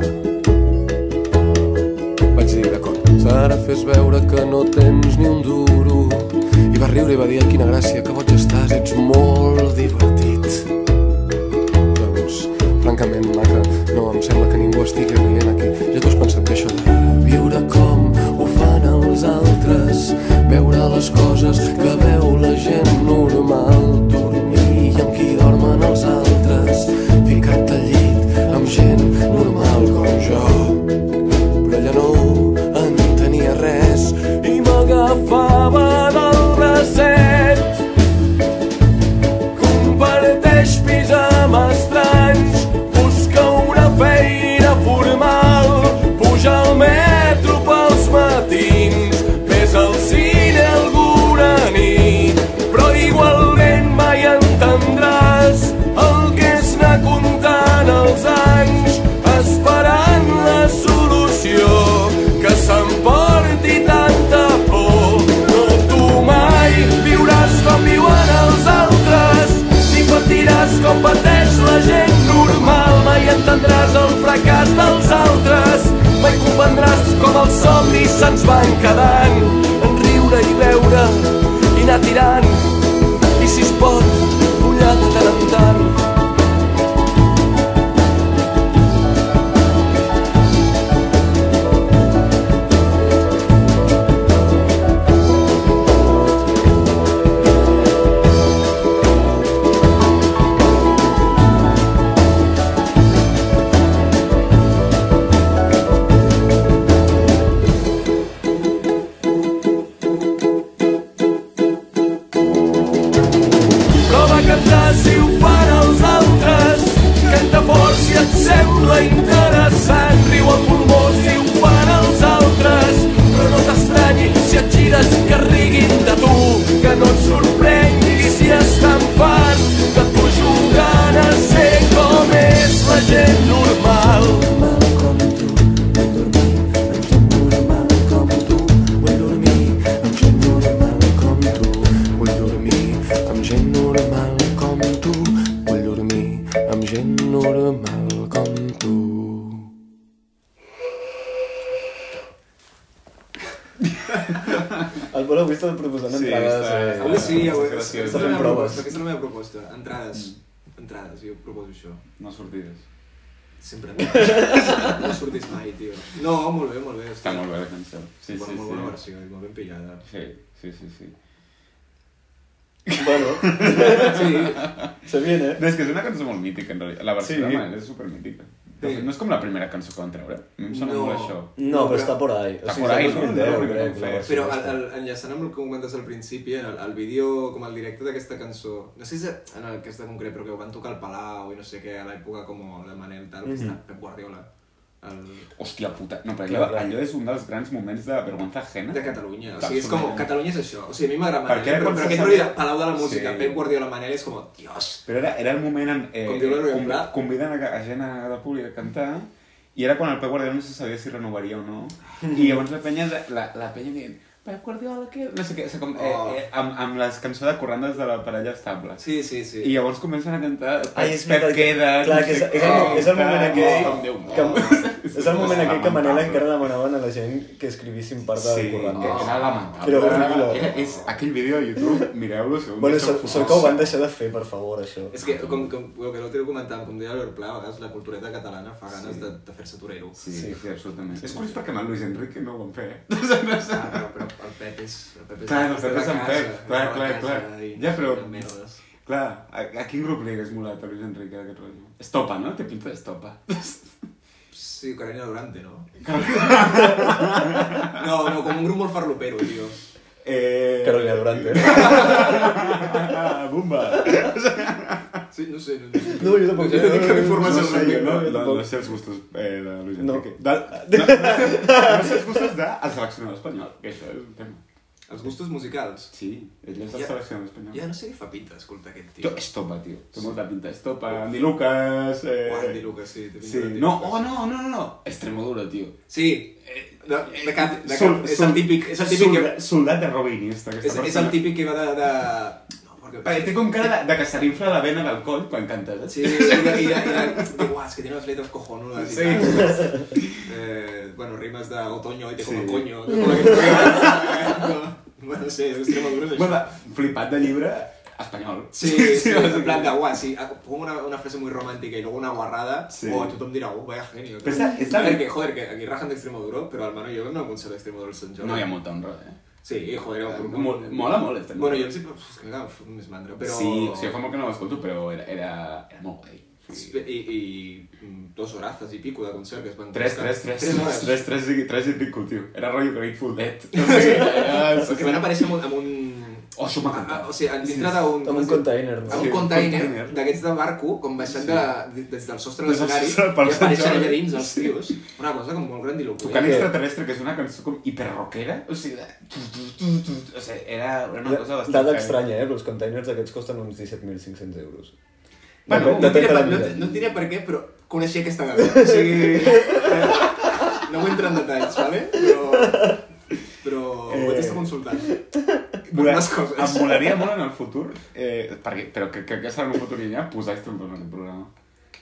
Vaig dir, d'acord, ara fes veure que no tens ni un duro. I va riure i va dir, "Ai, quina gràcia, que boig estàs, ets molt divertit. Doncs, francament, maca, no em sembla que ningú estigui rient aquí. Ja t'ho has pensat bé, això de viure com ho fan els altres, veure les coses que veu la gent normal, dormir amb qui dormen els altres, ficar-te al llit amb gent normal com jo però ella no entenia res i m'agafava del bracet. Comparteix pis amb estranys, busca una feina formal, puja al metro pels matins, ves al cine alguna nit, però igualment mai entendràs el que és anar comptant els anys, esperant la solució que s'emporti tanta por. No tu mai viuràs com viuen els altres, ni patiràs com pateix la gent normal, mai entendràs el fracàs dels altres, mai comprendràs com els somnis se'ns van quedant, en riure i veure i anar tirant, i si es pot, follar de tant en tant. Prova a cantar si ho fan els altres. Canta fort si et sembla interessant. Riu a pulmó si ho fan els altres. Però no t'estranyi si et gires que riguin de tu. Que no et sorprengui si estan fans de tu jugant a ser com és la gent normal. El Pol avui està proposant Sí, entrades... està- eh, Avui sí, avui Gràcies. aquesta és Estan la meva proves. proposta, aquesta és la meva proposta. Entrades. Entrades, jo proposo això. No sortides. Sempre entrades. No sortís mai, tio. No, molt bé, molt bé. Està molt bé la cançó. Sí, bona, sí, molt bona sí. versió, i molt ben pillada. Sí, sí, sí, sí. Bueno, Sí, sabien, eh? No, és que és una cançó molt mítica, en realitat. La versió Sí. de Manel és supermítica. De Sí. fet, no és com la primera cançó que van treure. A mi em sona No. molt això. No, però- però està por ahí. Està por ahí, és no? 2010, No, no, crec, no, la no, versió però el, aquesta. el, enllaçant amb el que comentes al principi, en el, el vídeo, com el directe d'aquesta cançó, no sé si és en aquesta concret, però que ho van tocar al Palau i no sé què, a l'època com la Manel, tal, que Mhm. està Pep Guardiola, el, Hòstia puta. No, però Clar, allò, clar. allò és un dels grans moments de vergüenza ajena. de Catalunya. O sigui, és com, Absolutament. Catalunya és això. O sigui, a mi m'agrada Per Manel, què però, pots però aquest saber- rotllo de Palau de la Música, Sí. Pep Guardiola Manel és com, dios, Però era, era el moment en... Eh, Com diu l'Eloi convi- Pla. conviden a, a gent a, de públic a cantar i era quan el Pep Guardiola no se sabia si renovaria o no. Mm. I llavors la penya, la, la penya dient Pep Guardiola, què? No sé què, o sigui, com, Oh. eh, eh, amb, amb les cançons de corrandes de la parella estable. Sí, sí, sí. I llavors comencen a cantar Ai, Pep, és Pep veritat. queda... Clar, que és, és, el, és el moment aquell... Oh, Que, és el moment Pues, aquell que Manel Lamentable. encara demanaven a la gent que escrivissin part de Sí, Corrent. era lamentable. Però horrible. Era, és aquell vídeo de YouTube, mireu-lo si algun Bueno, dia sou sort, sort famosos. que ho van deixar de fer, per favor, això. És que, com, com el que l'altre dia comentàvem, com deia l'Orpla, a vegades la cultureta catalana fa ganes de, de fer-se torero. Sí, Sí. sí, sí, absolutament. És curiós perquè amb el Luis Enrique no ho van fer. eh? Ah, però, però el Pep és... El Pep és Clar, el és Pep de és en casa, Pep, és de clar, la clar, casa clar. i Ja, però- no merdes. Clar, a, a quin grup li hagués molat a Luis Enrique d'aquest rotllo? Estopa, no? Té pinta d'estopa. Sí, Carolina Durante, no? no, no, com un grup molt farlopero, tio. Eh... Carolina Durante. Ah, bomba! Sí, no sé, no, no sé. No, jo tampoc. Jo no tinc cap informació al No sé, jo respecte. no, jo no, tampoc. no sé els gustos eh, de Luis No. Enrique. De, de, no, no, sé, no sé els gustos del seleccionador espanyol, que això és un tema. Els gustos musicals. Sí, ell és del Ja. seleccionador espanyol. Ja no sé què fa pinta, escolta, aquest Jo, tio. estopa, tio. Té molta pinta. Estopa, Andy Lucas... Eh... Guardi, Lucas, sí. té pinta Sí. de tio. No, oh, no, no, no, no. Extremodura, tio. Sí, Eh, De, de cap, de cap. Sol- és sol- el típic, és el típic que, soldat- Soldat de Robinista, aquesta és, és persona. el típic que va de... de... No, perquè... Perquè té com cara de, de que se li infla la vena del coll quan canta. Sí, sí, sí, i, i, i, diu, "Uah, és que tiene unas letras cojonudas Sí. i tal. Eh, bueno, rimes de otoño y te como Sí. coño. de todo aquest rotllo. No, Bueno, sí, Extremadura és això. Bueno, flipat de llibre espanyol. Sí, sí, sí, o sigui, en plan de guau, sí, ah, pongo una, una frase muy romántica y luego una guarrada, Sí. o tothom dirà, oh, vaya genio. Però està- està a ver, bé. que, joder, que aquí rajan d'extremo duro, però almenys jo no concert d'extremo duro al Sant Jordi. No hi ha molta honra, eh? Sí, i, joder, era un grup... Mo- mola molt, Extremo Bueno, Duro. jo em sempre... Uf, és que m'agradava fer més mandra, però... Sí, o sigui, fa molt que no l'escolto, però era, era, era eh. molt guai. I, i mm, dos horazas i pico de concert que es van... 3, 3, 3, 3, 3, 3, i 3 i pico, tio. Era rotllo Grateful Dead. Que van aparèixer amb un... Amb un... Ah, Oh, això m'ha encantat. o sigui, dintre d'un... Amb un container, a no? un Sí, container container. d'aquests de barco, com baixant de la, de- des del sostre de Des del l'escenari, sostre pel i apareixen Sant Jordi. allà dins els Sí. tios. Una cosa com molt grandiloquent. Tocant extraterrestre, que és una cançó com hiperroquera, o sigui, de... tu, tu, tu, tu, tu, o sigui, era era una cosa bastant... Dada heavy. estranya, eh? Però els containers aquests costen uns 17.500 euros. Bueno, Depèn- No, depèn diré, de la per, no, mida. no et diré per què, però coneixia aquesta dada. O sigui, eh, no vull entrar en detalls, ¿vale? però, però eh... ho vaig estar consultant. Per Volar, unes coses. em molaria molt en el futur, eh, perquè, però crec que, que serà en un futur llunyà, posar Stone en el programa.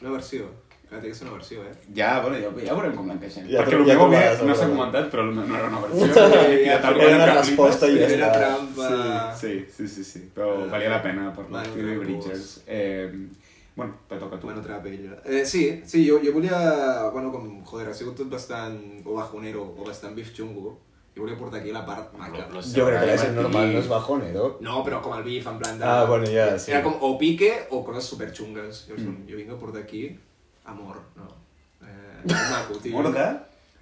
Una versió. Clar, té que ser una versió, eh? Ja, bueno, ja, ja veurem com l'encaixem. Ja perquè tro- el ja meu bé trobaràs, no s'ha trobaràs. comentat, però no, no era una versió. perquè he tirat el Era una rotllo resposta i ja Era està. trampa. Sí, sí, sí, sí, sí, però Ah. valia la pena per la Bueno, Phoebe doncs. Bridges. Eh, bueno, te toca a tu. Bueno, trapella. Eh, sí, sí, jo, jo volia... Bueno, com, joder, ha sigut tot bastant o bajonero o bastant bif xungo. Jo volia portar aquí la part maca. Jo crec que la gent normal no és bajonero. No, però com el bif, en plan de... Ah, bueno, ja, sí. Era com o pique o coses superxungues. Jo, mm. jo vinc a portar aquí amor, no? Eh, maco, tio. Amor de?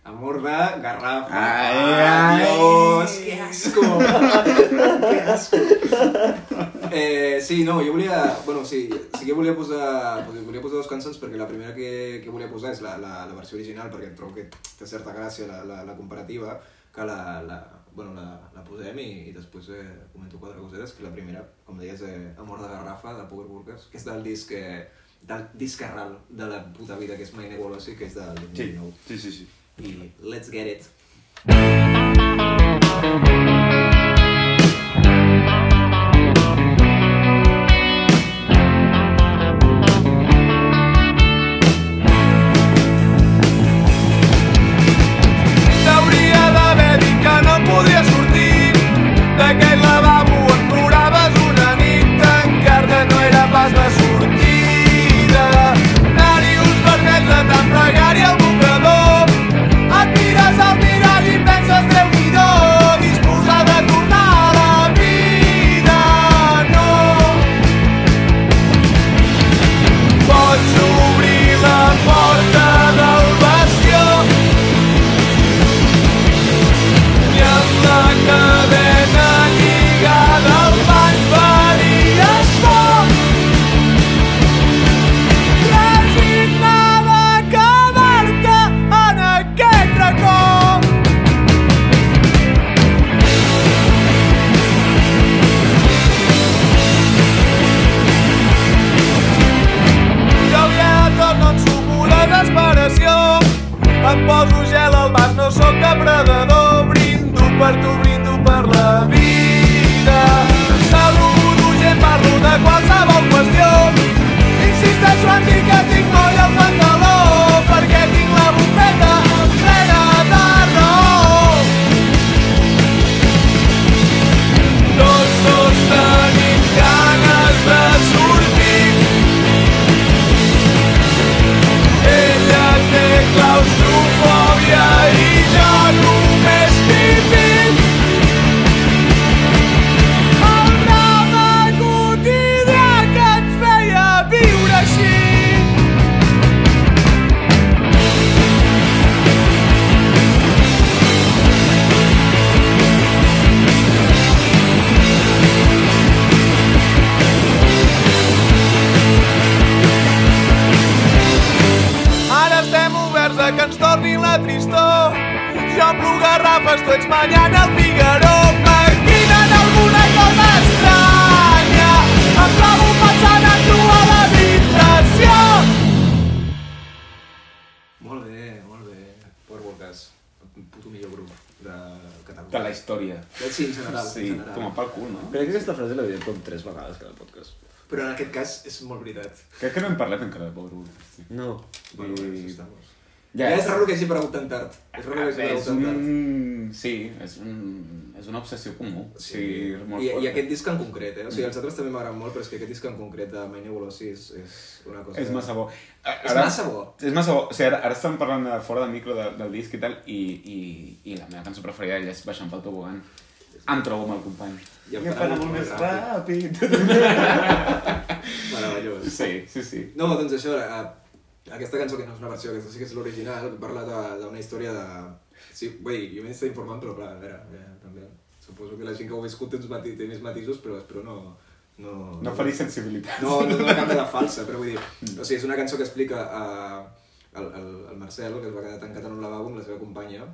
Amor de garrafa. Ai, ai. Dios, que asco. que asco. Eh, sí, no, jo volia... Bueno, sí, sí que volia posar, doncs, volia posar dues cançons perquè la primera que, que volia posar és la, la, la versió original perquè trobo que té certa gràcia la, la, la comparativa que la, la, bueno, la, la posem i, i després eh, comento quatre cosetes que la primera, com deies, eh, Amor de Garrafa de Power Burgers, que és del disc eh, del disc arral de la puta vida que és My Nebolosi, que és del 2019 Sí, sí, sí. sí. y let's get it. T'hauria d'haver dit que no et podia sortir d'aquell lavabo on ploraves una nit tancar-te no era pas la sortida narius vermells de tant pregar-hi al mocador et mires al mirall i penses déu nhi disposada a tornar a la vida no pots obrir la porta del bastió i amb la cadena lligada al pany faries por. Resignada a quedar-te en aquest racó. que aviat tot no et sumo la desesperació. Em poso gel al vas, no sóc depredador, brindo per tu, brindo per la vida. Saludo gent, parlo de qualsevol qüestió. Insisteixo en dir que tinc moll al pantaló, perquè tinc la bufeta plena de raó. Tots dos tenim ganes de sortir, ella té claustrofòbia i jo només vivim. El drama quotidià que ens feia viure així. Ara estem oberts a que ens torni la tristor. Jo plo garrafes, tu ets mañana al Figaró. Maquinen alguna cosa estranya. Em trobo pensant en tu a l'habitació. Molt bé, molt bé. Power Podcast, el puto millor grup de Catalunya. De la història. Sí, en general. Sí, en general. toma pel cul, no? Crec que aquesta frase l'havia dit com tres vegades cada podcast. Però en aquest cas és molt veritat. Crec que no hem parlat encara de Power Woman. Sí. No. Bueno, I- I... Ja, ja és raro que hagi aparegut tan tard. És raro que hagi és aparegut tan tard. un... Sí, és, un... és una obsessió comú. Sí, és molt Mm. I, fort. I aquest disc en concret, eh? O sigui, els altres també m'agraden molt, però és que aquest disc en concret de My Nebulosi és, és una cosa... És massa bo. A- És massa bo. És massa bo. O sigui, ara, ara estem parlant de fora del micro de, del disc i tal, i, i, i la meva cançó preferida d'ella és Baixant pel tobogan. Em trobo amb el company. I em farà molt més ràpid. Meravellós. Sí, sí, sí. No, doncs això, eh, aquesta cançó que no és una versió, aquesta sí que és l'original, parla de- d'una història de... Sí, bé, jo m'he estat informant, però clar, a veure, eh, també... Suposo que la gent que ho ha viscut té, uns mati, té més matisos, però espero no... No, No faré sensibilitat. No, no, no cap de la falsa, però vull dir... O sigui, és una cançó que explica a, el, el, el Marcel, que es va quedar tancat en un lavabo amb la seva companya,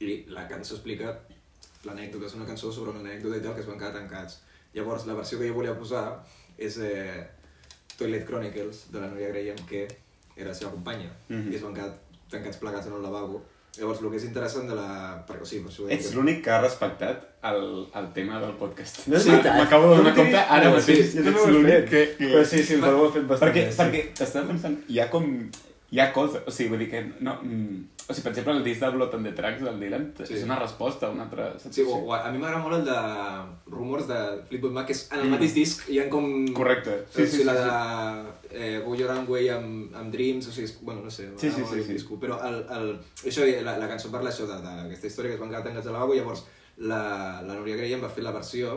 i la cançó explica l'anècdota, és una cançó sobre una anècdota i tal, que es van quedar tancats. Llavors, la versió que jo volia posar és eh, Toilet Chronicles, de la Núria Graham, que era la seva companya, Mhm. i es van quedar tancats plegats en un lavabo. Llavors, el que és interessant de la... Perquè, o sigui, per això ho deia Ets que- l'únic que ha respectat el, el tema del podcast. No és Sí, veritat. M'acabo de donar No compte sí, ara mateix. jo també ho Ets he l'únic fet. Que, que... Però sí, sí, però ho he fet bastant Perquè, bé, sí. perquè t'estava pensant, hi ha com... Hi ha cosa, o sigui, vull dir que no... mm, O sigui, per exemple, el disc de Blood and the Tracks del Dylan Sí. és una resposta a una altra... saps? Sí, o, o a, a mi m'agrada molt el de Rumors de Fleetwood Mac, que és en el mateix disc hi ha com... Mm. Correcte. Sí, sí, sí, la de eh, Go Your Own Way amb, amb Dreams, o sigui, és- bueno, no sé, Sí, sí, m'agrada molt sí, el sí. disco, però el, el, això, la, la cançó parla això de- d'aquesta història que es van quedar tancats al lavabo, llavors la, la Núria Graham va fer la versió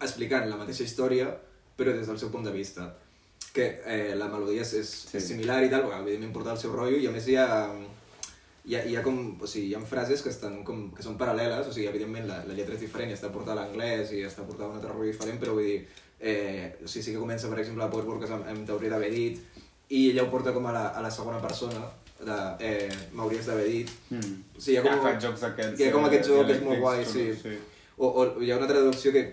explicant la mateixa història, però des del seu punt de vista que eh, la melodia és, és Sí. sí. similar i tal, perquè evidentment porta el seu rotllo i a més hi ha, hi ha, hi ha, com, o sigui, hi ha frases que, estan com, que són paral·leles, o sigui, evidentment la, la lletra és diferent i està portada a l'anglès i està portada a un altre rotllo diferent, però vull dir, eh, o sigui, sí que comença, per exemple, a Power Workers amb, amb t'hauria d'haver dit i ella ho porta com a la, a la segona persona de eh, m'hauries d'haver dit. Mm. O sigui, hi ha com, Ja fa jocs aquests, Hi ha com eh, aquest joc que és molt guai, dialèctics, sí. no? Sí. sí. O, o hi ha una traducció que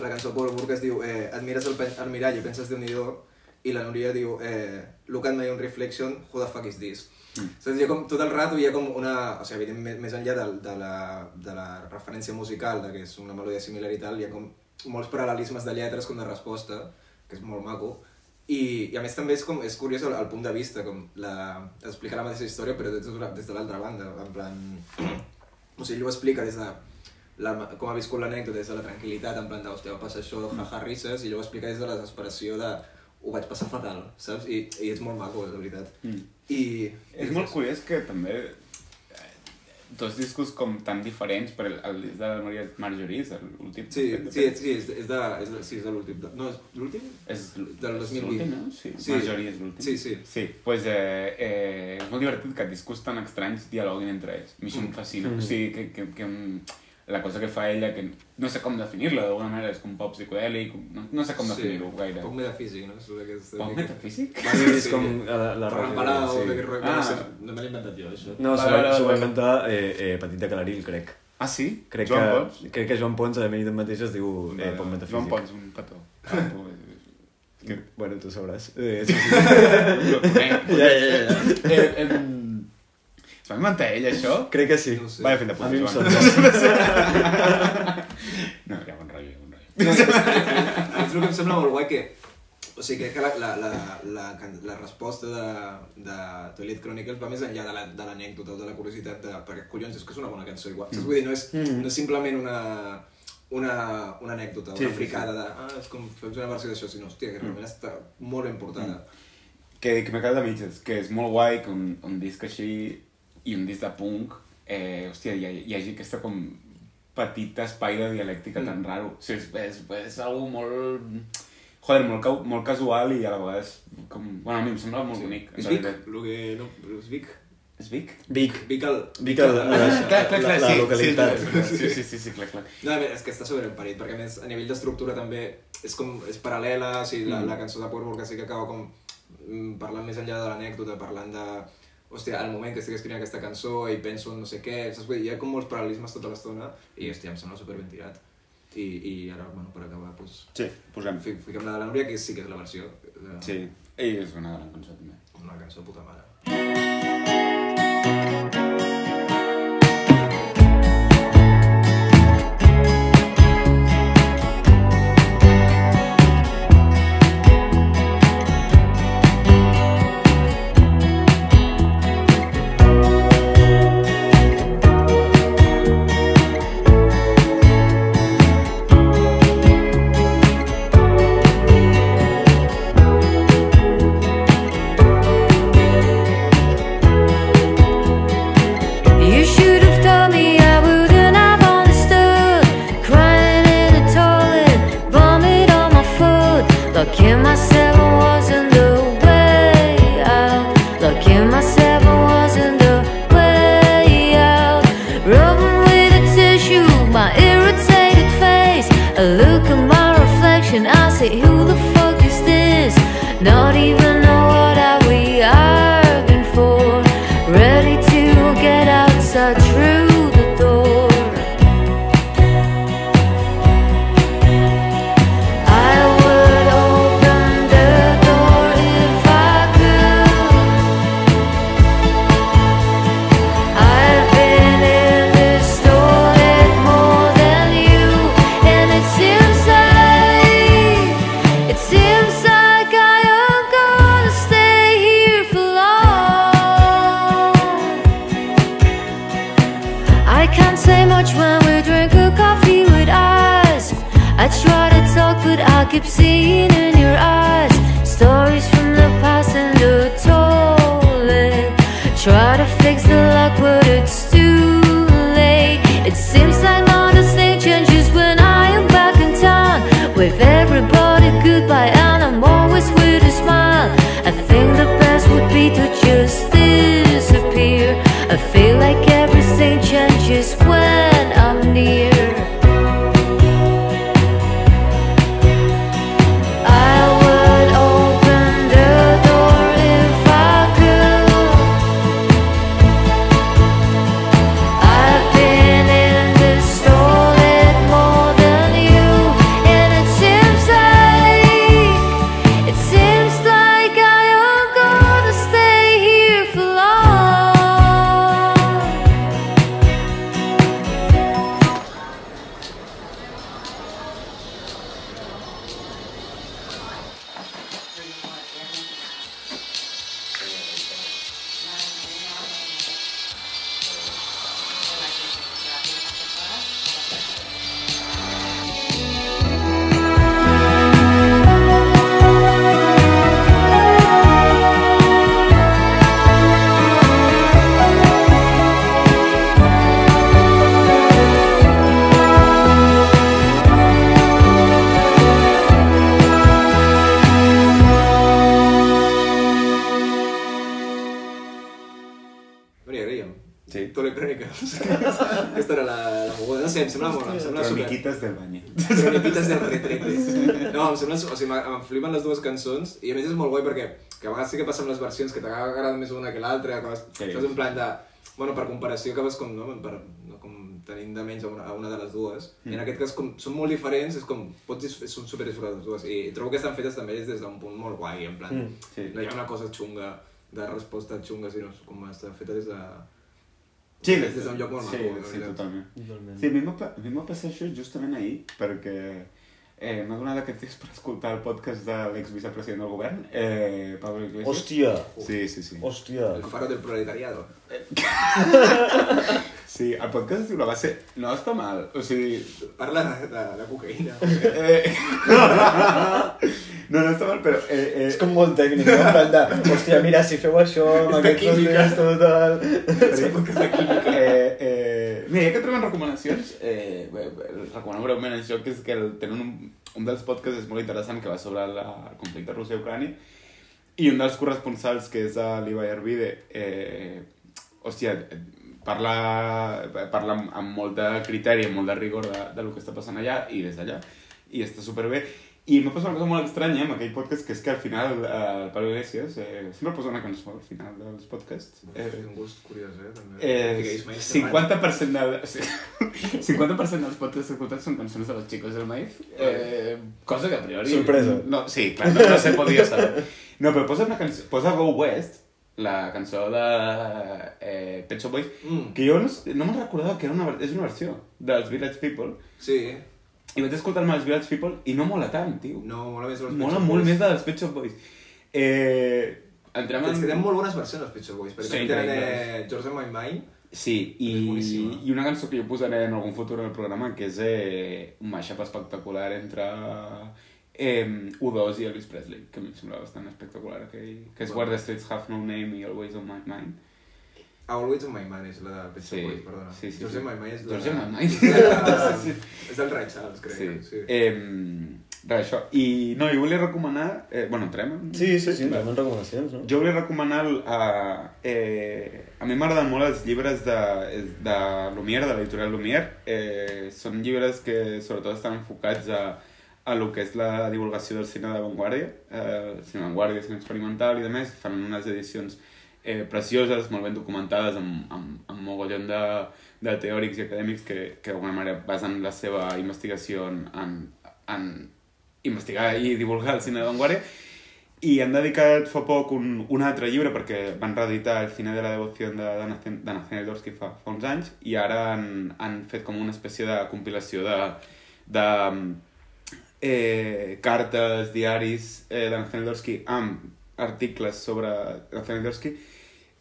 la cançó Paul Burke es diu eh, et mires al, pe- al mirall i penses déu nhi i la Núria diu eh, look at my own reflection, who the fuck is this? Mm. Saps? Hi ha com, tot el rato hi ha com una... O sigui, evidentment, més- més enllà de, de, la, de la referència musical, de que és una melodia similar i tal, hi ha com molts paral·lelismes de lletres com de resposta, que és molt maco, i, i a més també és, com, és curiós el, el punt de vista, com la, explicar la mateixa història però des, de- des de l'altra banda, en plan... o sigui, ell ho explica des de la, com ha viscut l'anècdota, des de la tranquil·litat, en plan de, hòstia, va passar això, Mm. jaja, risses, i ell ho explica des de la "Uh, desesperació de ho vaig passar fatal, saps? I, i és molt maco, de veritat. Mm. I... És molt curiós que també eh, dos discos com tan diferents, per el, el disc de la Maria Marjorie, és l'últim. Sí, sí, és- sí, és, és de, és de, sí, és de l'últim. de- No, és l'últim? És l- Del és 2020. l'últim, no? Sí, Sí. Marjorie és l'últim. Sí, sí. Sí, pues, eh, eh, és molt divertit que discurs tan estranys dialoguin entre ells. A mi això Mm. em fascina. O sigui, que, que, que em- la cosa que fa ella, que no sé com definir-la d'alguna manera, és com pop psicodèlic, no, no sé com definir-ho gaire. Poc metafísic, no? És aquest... Pop metafísic? Va, Sí, és com a la, la Ferran ràdio, Palau, sí. sí. aquest rotllo. Ah. No, sé, Ah. no me l'he inventat jo, això. No, Va, s'ho va, va, va, s'ho va va. inventar eh, eh, Petit de Canaril, crec. Ah, sí? Crec Joan que, Pons? Crec que Joan Pons, a mi mateix es diu eh, Pont Metafísic. Joan Pons, un petó. Ah, tu, és que Bueno, tu sabràs. Eh, sí, sí. Ho conec. ja, ja, ja, ja. Eh, em, Es va inventar ell, això? Crec que sí. No ho sé. Vaya fent de A puta, mi em Joan. sembla. No, era bon rotllo, era bon rotllo. No, és, és el que em sembla molt guai que... O sigui, crec que la, la, la, la, can- la resposta de, de Toilet Chronicles va més enllà de la- de l'anècdota la, o de la curiositat de... Perquè, collons, és que és una bona cançó igual. Saps? Vull dir, no és, Mm. no és simplement una, una, una anècdota, Sí, una sí, fricada de... Ah, és com fem una versió d'això, sinó, hòstia, que realment està molt ben portada. Mm. Que, que m'he quedat a mitges, que és molt guai que un, un disc així i un disc de punk, eh, hòstia, hi, ha- hi hagi aquesta com petit espai de dialèctica mm. tan raro. O sigui, és, és, és algo molt... Joder, molt, cau- molt casual i a la vegada és com... Bueno, a mi em sembla molt sí. bonic. en És Vic, realitat. el que... No, és Vic. És Vic? Vic. Vic el... Vic a la, la, clar, clar, clar, la, la sí, localitat. Sí, és veritat. sí, sí, sí, sí, clar, clar. No, a veure, és que està sobreemparit, perquè a més a nivell d'estructura també és com és paral·lela, o sigui, Mm. la, la cançó de Portmore que sí que acaba com mm, parlant més enllà de l'anècdota, parlant de hòstia, al moment que estic escrivint aquesta cançó i penso en no sé què, saps? Vull dir, hi ha com molts paral·lelismes tota l'estona i, hòstia, em sembla superben tirat. I, i ara, bueno, per acabar, doncs, Sí, posem. fi- fiquem la de la Núria, que sí que és la versió. De... Sí, i és una gran cançó també. Una cançó de puta mare. much when we drink a coffee with us. I try to talk, but I keep seeing in your eyes stories from the past and the toll. it. Try to fix the luck, but it's too late. It seems like nothing changes when I am back in town. With everybody goodbye, and I'm always with a smile. I think the best would be to just disappear. I feel like everything changes when I'm near. I would open the door if I could. I've been in this stolen more than you, and it seems like it seems like I am gonna stay here for long. Maria, creiem. Sí. Tole Cròniques. Aquesta era la, la moguda. No sé, em sembla molt, em sembla super... Croniquitas del baño. Croniquites del retrete. No, em sembla... O sigui, m'ha- em flipen les dues cançons i a més és molt guai perquè que a vegades sí que passa amb les versions que t'agrada més una que l'altra, que vas... Sí. Sí. Saps, en plan de... Bueno, per comparació acabes com, no? Per, no com tenint de menys a una, a una de les dues. Mm. I en aquest cas, com són molt diferents, és com, pots disf- són super disfrutades les dues. I trobo que estan fetes també des d'un punt molt guai, en plan, mm. sí. no hi ha una cosa xunga de resposta xunga, sinó com està feta des de, Sí, des d'un lloc molt sí, maco, la Sí, veritat. totalment. Sí, a mi em va pa- a mi em va passar això justament ahir, perquè eh, m'ha donat aquest temps per escoltar el podcast de l'exvicepresident del govern, eh, Pablo Iglesias. Hòstia, Sí, sí, sí. hòstia. El faro del proletariado. Sí, el podcast es diu La base... No està mal, o sigui... Parla de, de, de cocaïna. Eh... no, no està mal, però... Eh, eh... És com molt tècnic, no? En plan de, hòstia, mira, si feu això, amb És de aquests química. rodillos, tot el... Sí, eh, eh, mira, ja que trobem recomanacions, eh, bé, bé, recomano breument això, que és que el, tenen un, un dels podcasts és molt interessant, que va sobre la, el conflicte Rússia-Ucrània, i un dels corresponsals, que és eh, l'Ibai Arvide, eh, hòstia, eh, parla, eh, parla amb, amb molt de criteri, amb molt de rigor de, de lo que està passant allà i des d'allà. I està superbé. I m'ha passat una cosa molt estranya amb aquell podcast, que és que al final, eh, el Pablo Iglesias, eh, sempre posa una cançó al final dels podcasts. És Eh, un gust curiós, eh? També. Eh, Fiqueis maïs 50% del, o sigui, 50% dels podcasts escoltats són cançons de los chicos del maíz, eh, cosa que a priori... Sorpresa. No, sí, clar, no, no se podia saber. No, però posa, una cançó, posa Go West, la cançó de eh, Pet Shop Boys, Mm. que jo no, s- no me'n recordava que era una, ver- és una versió dels Village People, davant. Sí, i vaig escoltar-me els Village People i no mola tant, tio. no, mola més els mola Pet Shop molt Boys. més de dels Pet Shop Boys. Eh, entrem És que tenen molt bones versions, els Pet Shop Boys, perquè Sí, sí, tenen increïbles. eh, George and My Mind. Sí, És i, boníssima. i una cançó que jo posaré en algun futur del programa, que és eh, un mashup espectacular entre eh, U2 i Elvis Presley, que a mi em sembla bastant espectacular, que, que és Where the Streets Have No Name i Always On My Mind. Ah, Always on My Mind és la de Pet Shop Sí, Boys, perdona. sí, sí, George sí. and My Mind és la... George and My Mind. Sí, Mind. sí. És del Ray Charles, crec. Sí. sí. Eh, res, això. I no, jo volia recomanar... Eh, bueno, entrem? en- Sí, sí, sí, Vale. també en recomanacions, no? Jo volia recomanar... el- A, eh, a mi m'agraden molt els llibres de, de Lumière, de l'editorial Lumière. Eh, són llibres que sobretot estan enfocats a, a lo que és la divulgació del cine d'avantguàrdia, eh, cine d'avantguàrdia, cine experimental i de més. Fan unes edicions eh, precioses, molt ben documentades, amb, amb, amb mogollon de, de teòrics i acadèmics que, que d'alguna manera basen la seva investigació en, en, en investigar i divulgar el cine d'avantguàrdia. I han dedicat fa poc un, un altre llibre perquè van reeditar el cine de la devoció de Dana Zen- d'Anna Zenidorsky fa, fa uns anys i ara han, han fet com una espècie de compilació de, de eh, cartes, diaris eh, d'Anna Zenidorsky amb articles sobre Zenidorsky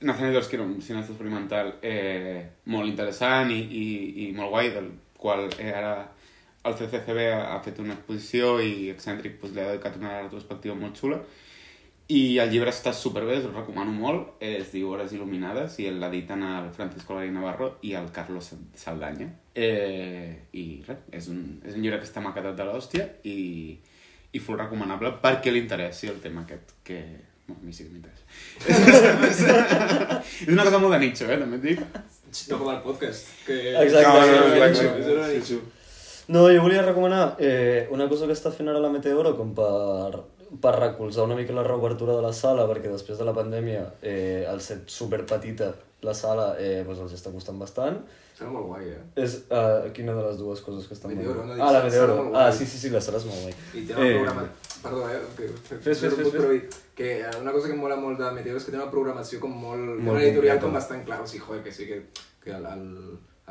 Nathaniel Dorsky era un cineasta experimental eh, molt interessant i, i, i molt guai, del qual eh, ara el CCCB ha, ha fet una exposició i Excèntric pues, li ha dedicat una retrospectiva molt xula. I el llibre està superbé, us el recomano molt. Eh, es diu Hores Il·luminades i l'editen el Francisco Lari Navarro i el Carlos Saldaña. Eh, I res, és un, és un llibre que està maquetat de l'hòstia i, i full recomanable perquè li interessi el tema aquest, que bueno, a mi sí que m'interessa. és una cosa molt de nicho, eh, també et dic. No com el podcast. Que... Exacte. No, no, era exacte. nicho, era nicho. No, jo volia recomanar eh, una cosa que està fent ara la Meteoro com per, per recolzar una mica la reobertura de la sala, perquè després de la pandèmia, eh, al ser superpetita la sala, eh, doncs els està costant bastant. Serà molt guai, eh? És eh, quina de les dues coses que estan... Meteoro, no molt... dic, Ah, la sala Meteoro. molt guai. Ah, sí, sí, sí, la sala és molt guai. I té un eh... programa... Perdó, eh? Que, Fes, fes, fes, però que eh, una cosa que em mola molt de Meteor és que té una programació com molt... molt una concreta. editorial com bastant clara. O sigui, joder, que sí que, que el, el,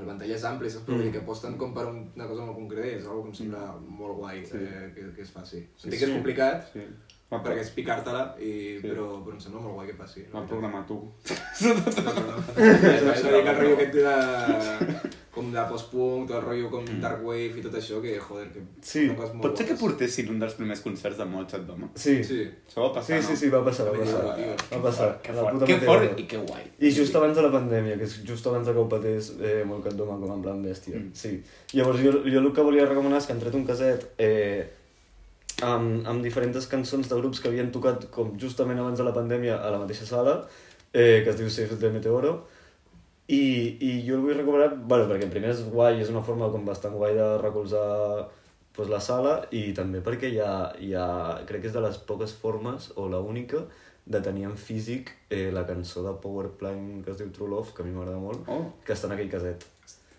el ventall és ampli, saps? Però Mm. vull dir que aposten com per un- una cosa molt concreta i és una que em sembla molt guai eh, que, que es faci. Sí, Entenc que és complicat, Sí. Va, perquè és picar-te-la, i... però, però em sembla molt guai que passi. va programar tu. És a dir, que el rotllo aquest de... com de post-punk, tot el rotllo com dark wave i tot això, que, joder, que... Sí, Pues són coses molt Pot ser Pues que guapes. portessin un dels primers concerts de Mozart, home. Sí, sí, Sí. Això va passar, sí, sí, no? va passar, va Que passar. fort, Va passar. Que La fort, puta que Meteoro. fort i que guai. I just abans de la pandèmia, que és just abans de que ho patés eh, molt cap d'home, com en plan bèstia. Mm. Sí. Llavors, jo, jo el que volia recomanar és que han tret un caset eh, amb, amb diferents cançons de grups que havien tocat com justament abans de la pandèmia a la mateixa sala, eh, que es diu Save the Meteoro, i, i jo el vull recomanar, bueno, perquè primer és guai, és una forma com bastant guai de recolzar pues, la sala i també perquè hi ha, hi ha, crec que és de les poques formes, o la única, de tenir en físic eh, la cançó de Powerplane que es diu True Love, que a mi m'agrada molt, Oh. que està en aquell caset.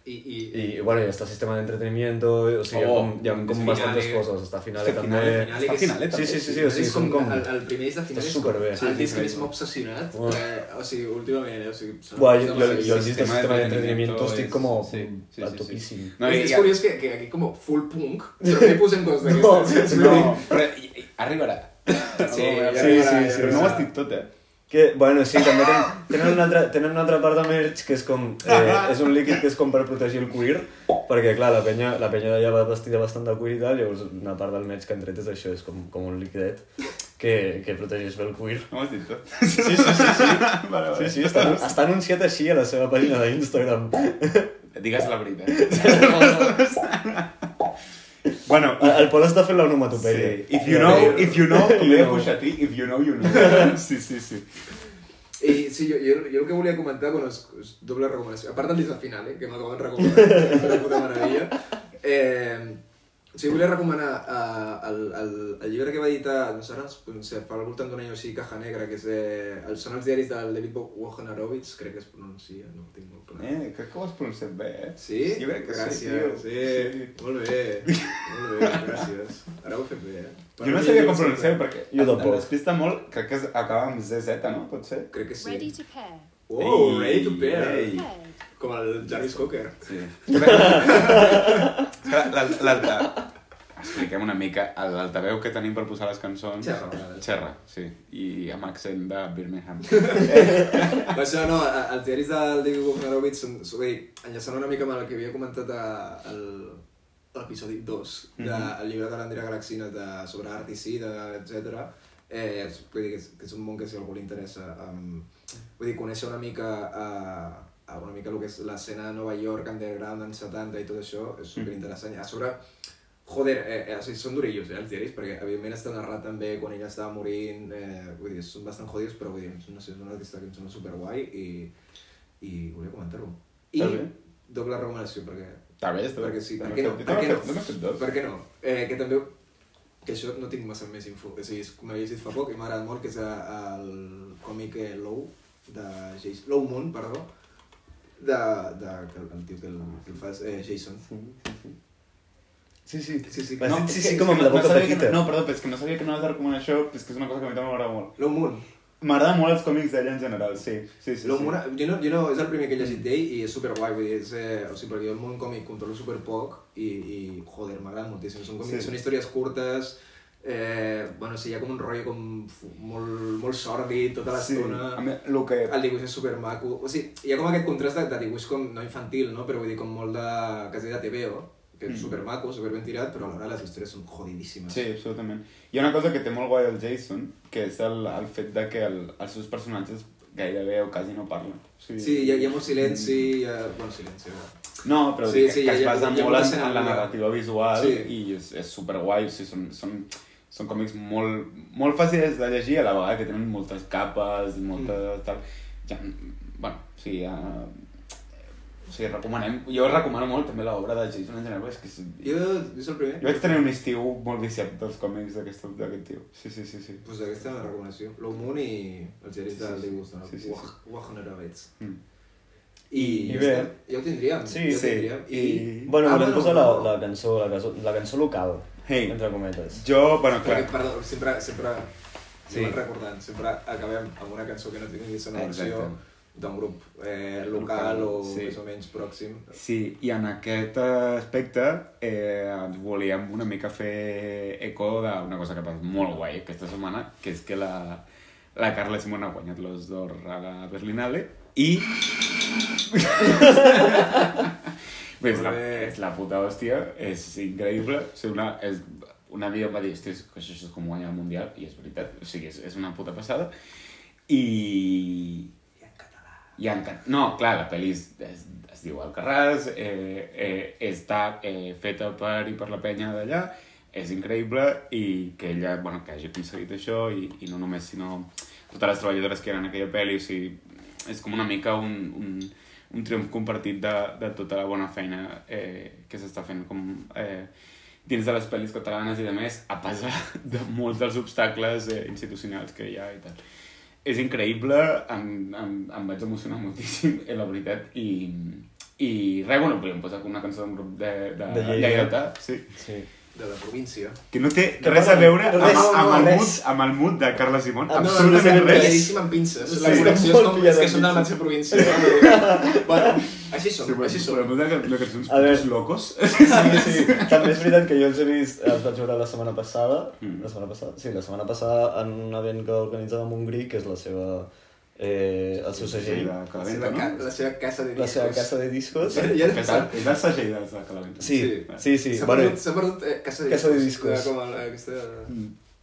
I, i, I, bueno, i està Sistema de Entretenimiento, o sigui, Oh, oh, hi ha com, hi ha com Finale. bastantes coses, està Finale Està també... Finale, Finale, està que és- Finale, Sí, també. sí, sí, sí, o sigui, és com, són com... El, el primer és de final Està és com superbé. el Sí, sí, disc sí. més m'ha obsessionat. Uah. Que, o sigui, últimament, eh? O sigui, són- Guai, jo, són jo, les- jo el disc de Sistema de Sistema este de Entretenimiento Entretenimiento estic és- com sí, sí, sí, a sí. topíssim. No, i, és, és i- curiós que, que aquí com full punk, però no hi posem coses d'aquestes. vull dir, No, No, però i- i- arribarà. Sí, arribarà, sí, arribarà, sí, però sí. no ho has dit tot, eh? Que, bueno, sí, també ten, tenen, una altra, tenen una altra part de merch que és com... Eh, és un líquid que és com per protegir el cuir, perquè, clar, la penya, la penya d'allà va vestida bastant de cuir i tal, llavors una part del merch que han tret és això, és com, com un liquidet que, que protegeix bé el cuir. No ho has dit tot. Sí, sí, sí, sí. Sí, Vale, vale. sí, està, està anunciat així a la seva pàgina d'Instagram. Digues la veritat. bueno, El, el Pol està fent sí. l'onomatopeia. If you know, if you know, com deia Puixatí, if you know, you know. Sí, sí, sí. I sí, jo, jo, jo el que volia comentar, bueno, és, és doble recomanació. A part del disc de final, eh, que m'acaben recomanant, és una puta meravella. Eh, o sigui, volia recomanar eh, el, el, el llibre que va editar, no sé, ara, no sé, fa al voltant d'un any o així, Caja Negra, que és, eh, el, són els diaris del David Bo- Wojnarowicz, crec que es pronuncia, no ho tinc molt clar. Eh, crec que ho has pronunciat bé, eh? Sí? Jo crec que sí, tio. gràcies. sí, Molt bé, molt bé, gràcies. Ara ho he fet bé, eh? Jo no sabia com pronunciar perquè Jo tampoc. es despista molt, crec que es- acaba amb ZZ, no? Pot ser? Crec que Ready sí. to pair. Oh, ready to pair. Ei. Com el Jarvis Cocker. Sí. Espera, l'al- l'alta... Expliquem una mica el- l'altaveu que tenim per posar les cançons. Xerra, a vegades. Xerra, sí. I amb accent de Birmingham. Per això, no, a- els diaris del David Wojnarowicz són, són, vull dir, enllaçant una mica amb el que havia comentat a, el- a l'episodi 2 del de, el llibre de l'Andrea Galaxina de, sobre art i sida, etc. Eh, és- vull dir que és, que és un món que si a algú li interessa, um, vull dir, conèixer una mica a, a una mica el que és l'escena de Nova York, underground, en 70 i tot això, és superinteressant. I A sobre, joder, eh, eh, o sigui, són durillos, eh, els diaris, perquè evidentment està narrat també quan ella estava morint, eh, vull dir, són bastant jodidos, però vull dir, no sé, és un artista que em sembla superguai i, i volia comentar-ho. I Està bé. doble recomanació, perquè, Està bé, està bé. perquè sí, N'hem per què no? fet- Per què n'hem no? fet- n'hem fet dos. Per què no? Eh, que també que això no tinc massa més info, o sigui, és que m'he llegit fa poc i m'ha agradat molt, que és eh, el còmic eh, Low, de Jason, Low Moon, perdó, de, de, que el, el tio que el, que el fa és eh, Jason. Sí, sí. Sí, sí, No, no, sí, és sí, que- com és amb que la no boca sabia que petita. No, no, perdó, però és que no sabia que no vas a recomanar això, però és que és una cosa que a mi també m'agrada molt. Low Moon. M'agrada molt els còmics d'ella en general, sí. Sí, sí, Lo sí. Moon, jo, no, jo no, és el primer que he llegit d'ell i és superguai, vull dir, és, eh, o sigui, perquè jo el món còmic controlo superpoc i, i joder, m'agrada moltíssim, són, còmics, Sí. són històries curtes, Eh, bueno, sí, hi ha com un rotllo com fu- molt, molt sòrdid tota Sí, l'estona. a mi, el que... El dibuix és supermaco. O sigui, hi ha com aquest contrast de, de dibuix com no infantil, no? però vull dir com molt de... quasi de TVO, que Mm. és supermaco, superben tirat, però alhora les històries són jodidíssimes. Sí, absolutament. Hi ha una cosa que té molt guai el Jason, que és el, el fet de que el, els seus personatges gairebé o quasi no parlen. O sigui, Sí, hi ha, hi ha molt silenci, hi ha... bueno, silenci, va. No, però Sí, sí, que, sí, que hi ha- es basa hi ha molt en, molta en la escena- narrativa visual Sí. i és, és superguai, o sigui, són, són, són còmics molt, molt fàcils de llegir a la vegada que tenen moltes capes i moltes mm. tal. Ja, bueno, o sigui, ja, o sigui, recomanem, jo recomano molt també l'obra de Jason en general, perquè és que és, Jo, és el primer. jo vaig tenir un estiu molt viciat dels còmics d'aquest d'aquest tio. Sí, sí, sí, sí. Pues aquesta és la recomanació. Lou Moon i els gerents del dibuix, no? Sí, sí, sí. Wach- Wachnerowitz. Mm. I, I ja bé. està. ja ho tindríem. Sí, ja ho sí. tindríem. I, I- Bueno, Ah, volem bueno, posar la, no. la cançó, la cançó, la cançó local, Hey. entre cometes. Jo, bueno, Perquè, clar, perdó, sempre, sempre, Sí. sí. recordant, sempre acabem amb una cançó que no tingui una versió Exacte. d'un grup eh, Local, local o sí. més o menys pròxim. Sí, i en aquest eh, aspecte eh, ens volíem una mica fer eco d'una cosa que ha passat molt guai aquesta setmana, que és que la, la Carla Simón ha guanyat l'os d'or a la Berlinale i... Bé, és, la, és la puta hòstia, és increïble. O sigui, una, és, una amiga em va dir, hòstia, és que això és com guanyar el Mundial, i és veritat, o sigui, és, és una puta passada. I, i en cat... No, clar, la pel·li es, es, es diu Alcarràs, eh, eh, està eh, feta per i per la penya d'allà, és increïble i que ella, bueno, que hagi aconseguit això i, i no només, sinó totes les treballadores que eren en aquella pel·li, o sigui, és com una mica un, un, un triomf compartit de, de tota la bona feina eh, que s'està fent com, eh, dins de les pel·lis catalanes i de més, a pesar de molts dels obstacles eh, institucionals que hi ha i tal és increïble, em, em, em vaig emocionar moltíssim, eh, la veritat, i, i res, bueno, podríem posar com una cançó d'un grup de, de, De de Lleida. Lleidatà, sí. Sí. De la província. que no té Que res a parla- veure amb, res, amb, el, res. mood, amb el mood de Carla Simón, Ah, no, absolutament no, no, res. Pilladíssim amb pinces. Sí, la està connexió és molt com... És que pillada amb som de la pinces. mateixa província. bueno, així som, Sí, bueno, així però som. em sembla que la A cançó uns veure. locos. Sí, sí. També és veritat que jo els he vist, els vaig veure la setmana passada, Mm. la setmana passada, sí, la setmana passada en un event que organitzava Montgrí, que és la seva, eh, el seu segell, de La Calaventa, seva, ca... no? la seva casa de la seva discos. casa de discos. Sí. Ja és el- és el segell de de Calaventa. Sí, sí, sí. S'ha Bueno, perdut, s'ha perdut eh, casa de discos. Casa de discos. Mm. Com el- aquesta...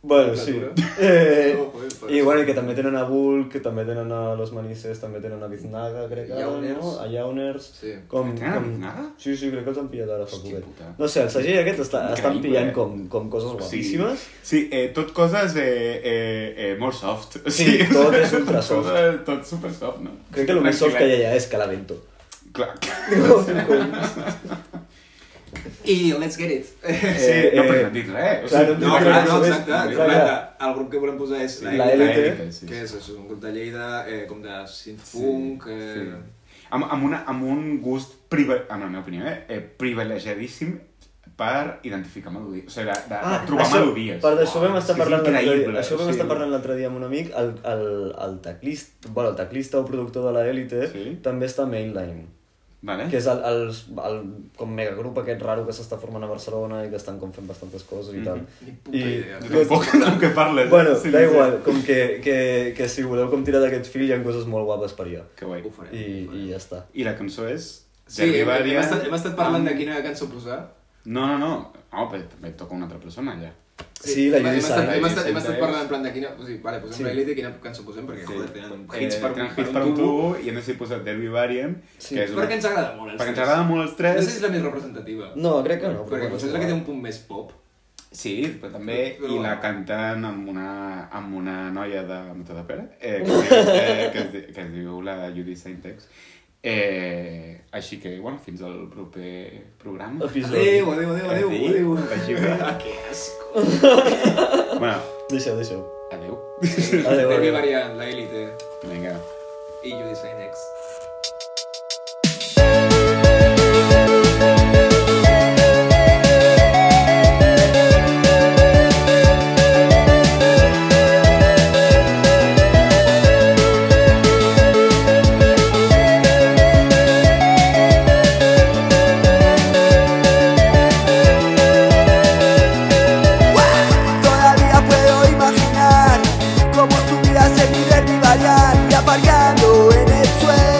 bueno sí. Natura. Eh, No, joder, però I sí. bueno, i que també tenen a Bulk, que també tenen a Los Manises, també tenen a Biznaga, crec que I a ara, no? Uners. A Yauners. Sí. Com, Tenen a com... Biznaga? Sí, sí, crec que els han pillat ara fa Hòstia poquet. puta. No sé, el segell aquest està, estan Increïble, pillant eh? com, com coses guapíssimes. Sí, eh, tot coses eh, eh, eh, molt soft. O Sí, tot és ultra soft. Tot, tot super soft, no? Crec que el més soft que hi ha allà és Calavento. eh? Clar. I Let's Get It. Eh, Sí, Eh, no, però eh, no hem dit res. clar, no hem dit No, Sí, clar, sí, no, sí, exacte. sí, clar, clar. clar. El grup que volem posar és la, La Elite, LT. sí. que és, és un grup de Lleida eh, com de synth-punk... Sí. Eh, Amb, amb, una, amb un gust, privi... en la meva opinió, eh, eh, privilegiadíssim per identificar melodies. O sigui, de, de, de trobar melodies. Ah, Per d'això vam Uau, estar és parlant l'altre dia, increïble, això o vam sigui, estar parlant l'altre dia amb un amic, el, el, el teclista, bueno, el teclista o productor de la Elite Sí. també està a Mainline, Vale. que és el, el, el com megagrup aquest raro que s'està formant a Barcelona i que estan com fent bastantes coses i tal. Ni puta idea. Mhm. Jo tampoc del que parles. eh? Bueno, Sí, sí, da sí. igual, com que, que, que si voleu com tirar d'aquest fil hi ha coses molt guapes per allà. Que guai. Ho farem. I, i ja està. I la cançó és... Sí, hem, hem, Varian estat, hem estat parlant amb- de quina cançó posar. No, no, no. No, però també toca una altra persona allà. Sí, la hem, hem, Lluís estat, Sala. hem, estat, Lluís hem estat Sala. parlant en plan de quina... O sigui, vale, pues posem Sí. sí. la Elite, quina cançó posem, perquè Sí. joder, tenen Eh, hits per, tenen per, hits per un tubo. i a més he posat Derby Variant, Sí, que és una... Perquè ens agrada molt. els Perquè ens tres. agrada molt els tres. No sé si és la més representativa. No, crec que no. perquè bueno, potser és la que té un punt més pop. Sí, però també Però- i la canten amb una, amb una noia de Mata de Pere, eh, que, es diu- eh, que, es, di- que es diu la Judy Saintex. Eh, així que, bueno, fins al proper programa. Episodi. Adéu, adéu, adéu, adéu, Adéu, adéu. vagi bé. Ah, que asco. Bueno, Deixa-ho, deixa-ho. adeu. Adéu, Derby adéu. variant, la Elite Vinga. i You Design Next. Todas sueño.